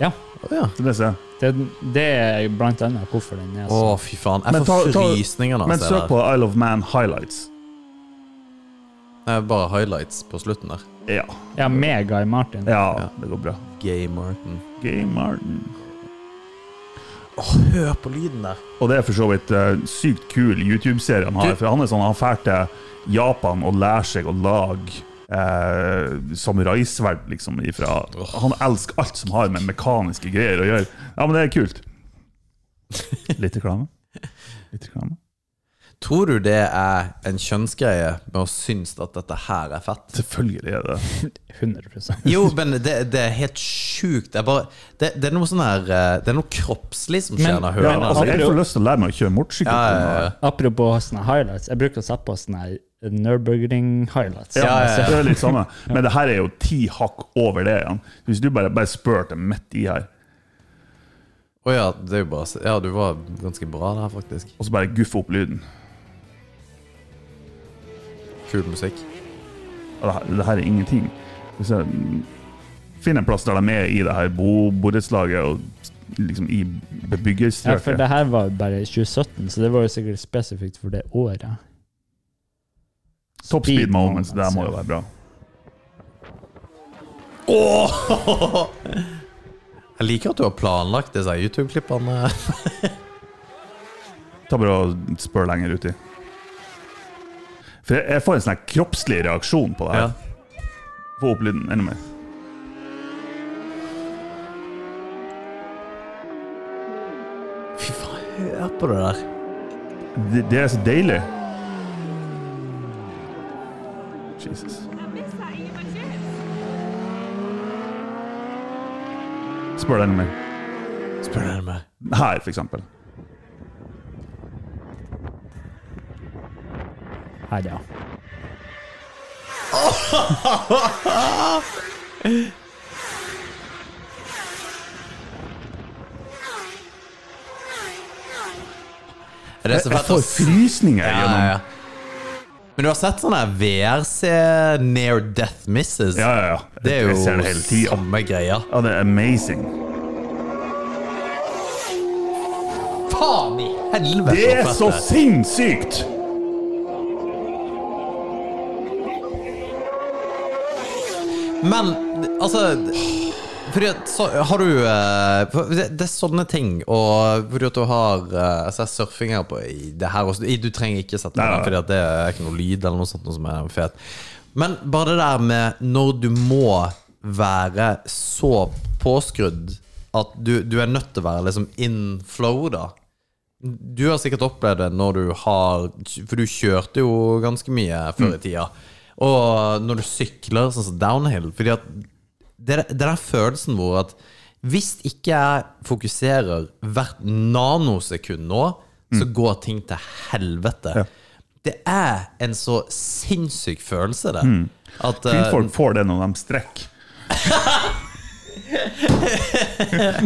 [SPEAKER 3] Ja.
[SPEAKER 1] Å ja.
[SPEAKER 2] det ser jeg.
[SPEAKER 3] Det, det er blant annet hvorfor den er
[SPEAKER 1] Å,
[SPEAKER 3] sånn.
[SPEAKER 1] fy faen. Jeg får frysninger når
[SPEAKER 2] men
[SPEAKER 1] jeg ser det.
[SPEAKER 2] søk
[SPEAKER 1] her.
[SPEAKER 2] på Isle of Man highlights.
[SPEAKER 1] Det er bare highlights på slutten der.
[SPEAKER 2] Ja.
[SPEAKER 3] Ja, med Guy Martin.
[SPEAKER 2] ja, det går bra.
[SPEAKER 1] Gay Martin.
[SPEAKER 2] Gay Martin.
[SPEAKER 1] Hør på lyden der.
[SPEAKER 2] Og det er for så vidt eh, sykt kul YouTube-serie han har.
[SPEAKER 1] Du-
[SPEAKER 2] For han er sånn, han fær til Japan og lærer seg å lage eh, samuraisverd, liksom. Ifra. Han elsker alt som har med mekaniske greier å gjøre. Ja, men det er kult. Litt reklame. Litt reklame.
[SPEAKER 1] Tror du det er en kjønnsgreie med å synes at dette her er fett?
[SPEAKER 2] Selvfølgelig er det
[SPEAKER 3] 100
[SPEAKER 1] Jo, men det, det er helt sjukt. Det er, bare, det, det er noe sånn her eh, Det er noe kroppslig som skjer
[SPEAKER 3] Men-
[SPEAKER 1] når jeg
[SPEAKER 2] ja,
[SPEAKER 1] hører den. altså.
[SPEAKER 2] altså, Jeg får lyst til å lære meg å kjøre motorsykkel.
[SPEAKER 3] Apropos sånne highlights, jeg bruker å sette på sånne Nurburgring-highlights.
[SPEAKER 2] Ja,
[SPEAKER 1] ja, ja.
[SPEAKER 2] Det er litt samme. Men det her er jo ti hakk over det igjen. Hvis du bare, bare spør til midt i her,
[SPEAKER 1] Å ja, det er jo bare Ja, du var ganske bra der, faktisk.
[SPEAKER 2] og så bare guffe opp lyden
[SPEAKER 1] Kul musikk.
[SPEAKER 2] Og det her, det her er ingenting. Hvis jeg mm, finner en plass der de er i det her bo- borettslaget og liksom i
[SPEAKER 3] Ja, for
[SPEAKER 2] bebyggerstrøket
[SPEAKER 3] det her var jo bare 2017, så det var jo sikkert spesifikt for det året.
[SPEAKER 2] Top speed moments, det her må jo være bra.
[SPEAKER 1] Jeg liker at du har planlagt disse YouTube-klippene.
[SPEAKER 2] Ta bare og spør lenger uti. For jeg, jeg får en sånn her kroppslig reaksjon på det
[SPEAKER 1] Ja.
[SPEAKER 2] her. Få opp lyden enda mer.
[SPEAKER 1] Fy faen, hør på det der.
[SPEAKER 2] Det, det er så deilig. Jesus. Spør deg enda mer.
[SPEAKER 1] Spør deg meg.
[SPEAKER 2] Her, for eksempel.
[SPEAKER 3] Her, ja.
[SPEAKER 1] Er det så
[SPEAKER 2] Jeg
[SPEAKER 1] fett
[SPEAKER 2] får
[SPEAKER 1] ass?
[SPEAKER 2] frysninger
[SPEAKER 1] ja,
[SPEAKER 2] gjennom
[SPEAKER 1] ja. Men du har sett sånne VRC Near Death Misses?
[SPEAKER 2] Ja, ja, ja.
[SPEAKER 1] Det er
[SPEAKER 2] Jeg ser det
[SPEAKER 1] jo
[SPEAKER 2] hele tida.
[SPEAKER 1] samme greia.
[SPEAKER 2] Ja, det er amazing.
[SPEAKER 1] Faen i helvete!
[SPEAKER 2] Det er så
[SPEAKER 1] så fett
[SPEAKER 2] sinnssykt!
[SPEAKER 1] det er. Men altså fordi at, så, har du eh, for det, det er sånne ting, og fordi at du har eh, altså, jeg har surfing her på i det her også. I- Du trenger ikke sette på
[SPEAKER 2] Nei,
[SPEAKER 1] den,
[SPEAKER 2] nei.
[SPEAKER 1] fordi at det er ikke noe lyd eller noe sånt noe som er fet. Men bare det der med når du må være så påskrudd at du, du er nødt til å være liksom in flow, da. Du har sikkert opplevd det når du har For du kjørte jo ganske mye før i tida. Og når du sykler, sånn som downhill Fordi at det, det er den følelsen hvor at hvis ikke jeg fokuserer hvert nanosekund nå, så går ting til helvete. Det er en så sinnssyk følelse, det. At eh,
[SPEAKER 2] Kvinnfolk får det når de strekker.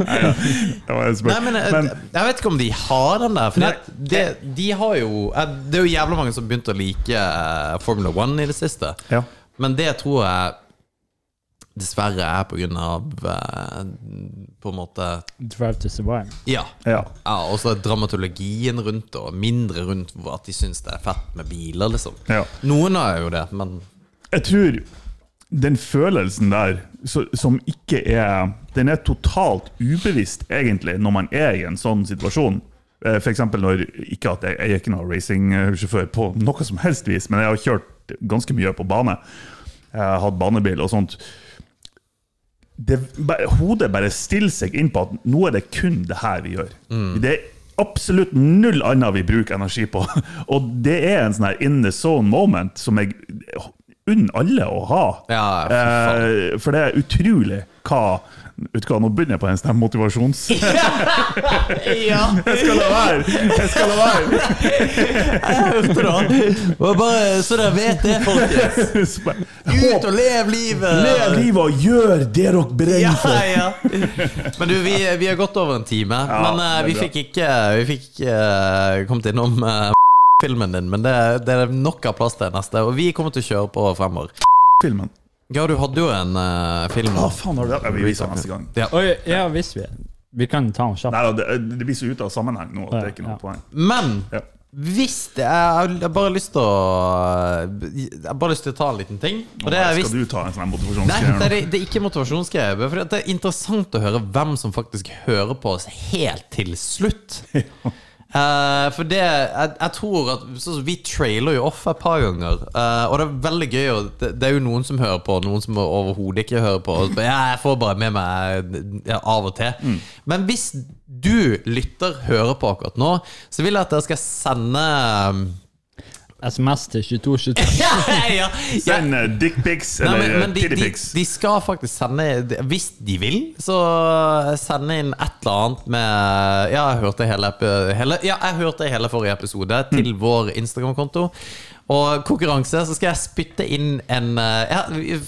[SPEAKER 2] Nei, ja. Det var en spøk.
[SPEAKER 1] Nei, men, eh, jeg-
[SPEAKER 2] Men
[SPEAKER 1] jeg vet ikke om de har den der. For
[SPEAKER 2] Nei.
[SPEAKER 1] det, det, de har jo eh, Det er jo jævla mange som begynte å like eh, Formula One i det siste.
[SPEAKER 2] Ja.
[SPEAKER 1] Men det tror jeg dessverre er på grunn av eh, På en måte
[SPEAKER 3] Drive to survive.
[SPEAKER 1] Ja.
[SPEAKER 2] ja.
[SPEAKER 1] ja og så dramaturgien rundt det, og mindre rundt hvor at de syns det er fett med biler, liksom.
[SPEAKER 2] Ja.
[SPEAKER 1] Noen har jo det, men
[SPEAKER 2] Jeg tror den følelsen der, så, som ikke er Den er totalt ubevisst, egentlig, når man er i en sånn situasjon. Eh, For eksempel når ikke at jeg, jeg er ikke noen racingsjåfør på noe som helst vis, men jeg har kjørt ganske mye på bane. Jeg har hatt banebil og sånt. Det, bare, hodet bare stiller seg inn på at nå er det kun det her vi gjør.
[SPEAKER 1] Mm.
[SPEAKER 2] Det er absolutt null annet vi bruker energi på. Og det er en sånn her in the zone moment som jeg unner alle å ha.
[SPEAKER 1] Ja, for
[SPEAKER 2] eh, for det er utrolig hva Vet du hva, Nå begynner jeg på en sånn her motivasjons...
[SPEAKER 1] Ja,
[SPEAKER 2] Jeg skal la være! Jeg skal la være!
[SPEAKER 1] hørte du det? Og Bare så dere vet det, folkens.
[SPEAKER 2] Så bare,
[SPEAKER 1] Ut
[SPEAKER 2] Håp,
[SPEAKER 1] og lev livet!
[SPEAKER 2] lev livet og gjør det dere brenner for!
[SPEAKER 1] Ja, ja. Men du, vi, vi har gått over en time.
[SPEAKER 2] Ja,
[SPEAKER 1] men eh,
[SPEAKER 2] det er
[SPEAKER 1] vi
[SPEAKER 2] bra.
[SPEAKER 1] fikk ikke, vi fikk ikke eh, kommet innom eh, filmen din. Men det, det er nok av plass til neste, og vi kommer til å kjøre på fremover.
[SPEAKER 2] Filmen.
[SPEAKER 1] Ja, du hadde jo en eh, film.
[SPEAKER 2] Ah, Å, faen, har du det? Ja, vi viser den neste gang.
[SPEAKER 1] Ja.
[SPEAKER 3] Oi, ja, visste vi. Vi kan ta den kjapt.
[SPEAKER 2] Nei, da, det, det blir så ute av sammenheng nå at det er ikke noe
[SPEAKER 3] Ja.
[SPEAKER 2] poeng.
[SPEAKER 1] Men
[SPEAKER 2] Ja.
[SPEAKER 1] hvis det er Jeg har bare lyst til å Jeg har bare lyst til å ta en liten ting. Og det er hvis
[SPEAKER 2] Skal du ta en
[SPEAKER 1] Nei,
[SPEAKER 2] sånn motivasjonsgreie
[SPEAKER 1] det er,
[SPEAKER 2] nå?
[SPEAKER 1] det er ikke motivasjonsgreier. For det er interessant å høre hvem som faktisk hører på oss helt til slutt. Eh, for det jeg, jeg tror at sånn som Vi trailer jo off et par ganger. eh, og det er veldig gøy. å- det, det er jo noen som hører på, og noen som overhodet ikke hører på. Og så bare, ja, jeg får bare med meg ja, av og til. Men hvis du lytter, hører på akkurat nå, så vil jeg at dere skal sende
[SPEAKER 3] SMS til 2222.
[SPEAKER 1] ja, ja, ja,
[SPEAKER 2] Send uh, dickpics
[SPEAKER 1] Nei,
[SPEAKER 2] eller
[SPEAKER 1] men, men de, de,
[SPEAKER 2] tittypics.
[SPEAKER 1] de skal faktisk sende de- Hvis de vil, så sende inn et eller annet med Ja, jeg hørte hele, epi- hele, ja, jeg hørte hele forrige episode til vår Instagram-konto. Og konkurranse, så skal jeg spytte inn en eh, ja,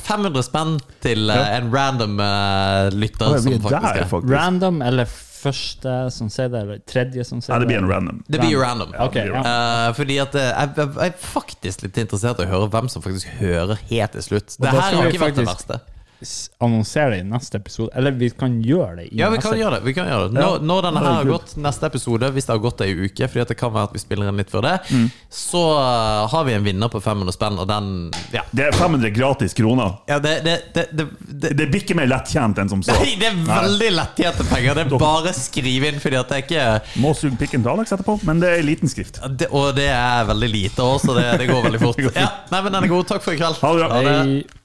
[SPEAKER 1] 500 spenn til eh, en random eh, lytter.
[SPEAKER 2] Å, ja,
[SPEAKER 1] som
[SPEAKER 2] vi er
[SPEAKER 1] faktisk
[SPEAKER 2] der,
[SPEAKER 1] er.
[SPEAKER 2] faktisk.
[SPEAKER 3] Random eller første som sier det, eller tredje som sier
[SPEAKER 2] Nei, det blir en random.
[SPEAKER 1] Det blir jo random.
[SPEAKER 3] Ok, ja.
[SPEAKER 1] Eh, fordi at eh, jeg, jeg, jeg er faktisk litt interessert i å høre hvem som faktisk hører helt til slutt. Det
[SPEAKER 3] da
[SPEAKER 1] her
[SPEAKER 3] skal
[SPEAKER 1] har
[SPEAKER 3] vi
[SPEAKER 1] ikke vært det
[SPEAKER 3] faktisk-
[SPEAKER 1] verste.
[SPEAKER 3] S- Annonsere det i neste episode. Eller vi kan gjøre det. i
[SPEAKER 1] Ja, vi
[SPEAKER 3] neste
[SPEAKER 1] kan gjøre det. Vi kan gjøre det. Når,
[SPEAKER 2] Ja.
[SPEAKER 1] når denne
[SPEAKER 2] Ja,
[SPEAKER 1] her har
[SPEAKER 2] kult.
[SPEAKER 1] gått, neste episode, hvis det har gått ei uke, fordi at det kan være at vi spiller inn litt før det, så uh, har vi en vinner på 500 spenn, og den Ja,
[SPEAKER 2] Det er 500 gratis kroner.
[SPEAKER 1] ja det, det, det, det, det
[SPEAKER 2] Det blir ikke mer lettjent enn som så.
[SPEAKER 1] Nei, det er veldig lettjente penger. Det er bare å skrive inn, fordi at det er ikke
[SPEAKER 2] Må suge pikken til Alex etterpå, men det er liten skrift.
[SPEAKER 1] det, Og det er veldig lite også, så det, det går veldig fort.
[SPEAKER 2] Det går fort.
[SPEAKER 1] Ja, nei, men den er god. Takk for i kveld.
[SPEAKER 2] Ha det bra.
[SPEAKER 3] Hei.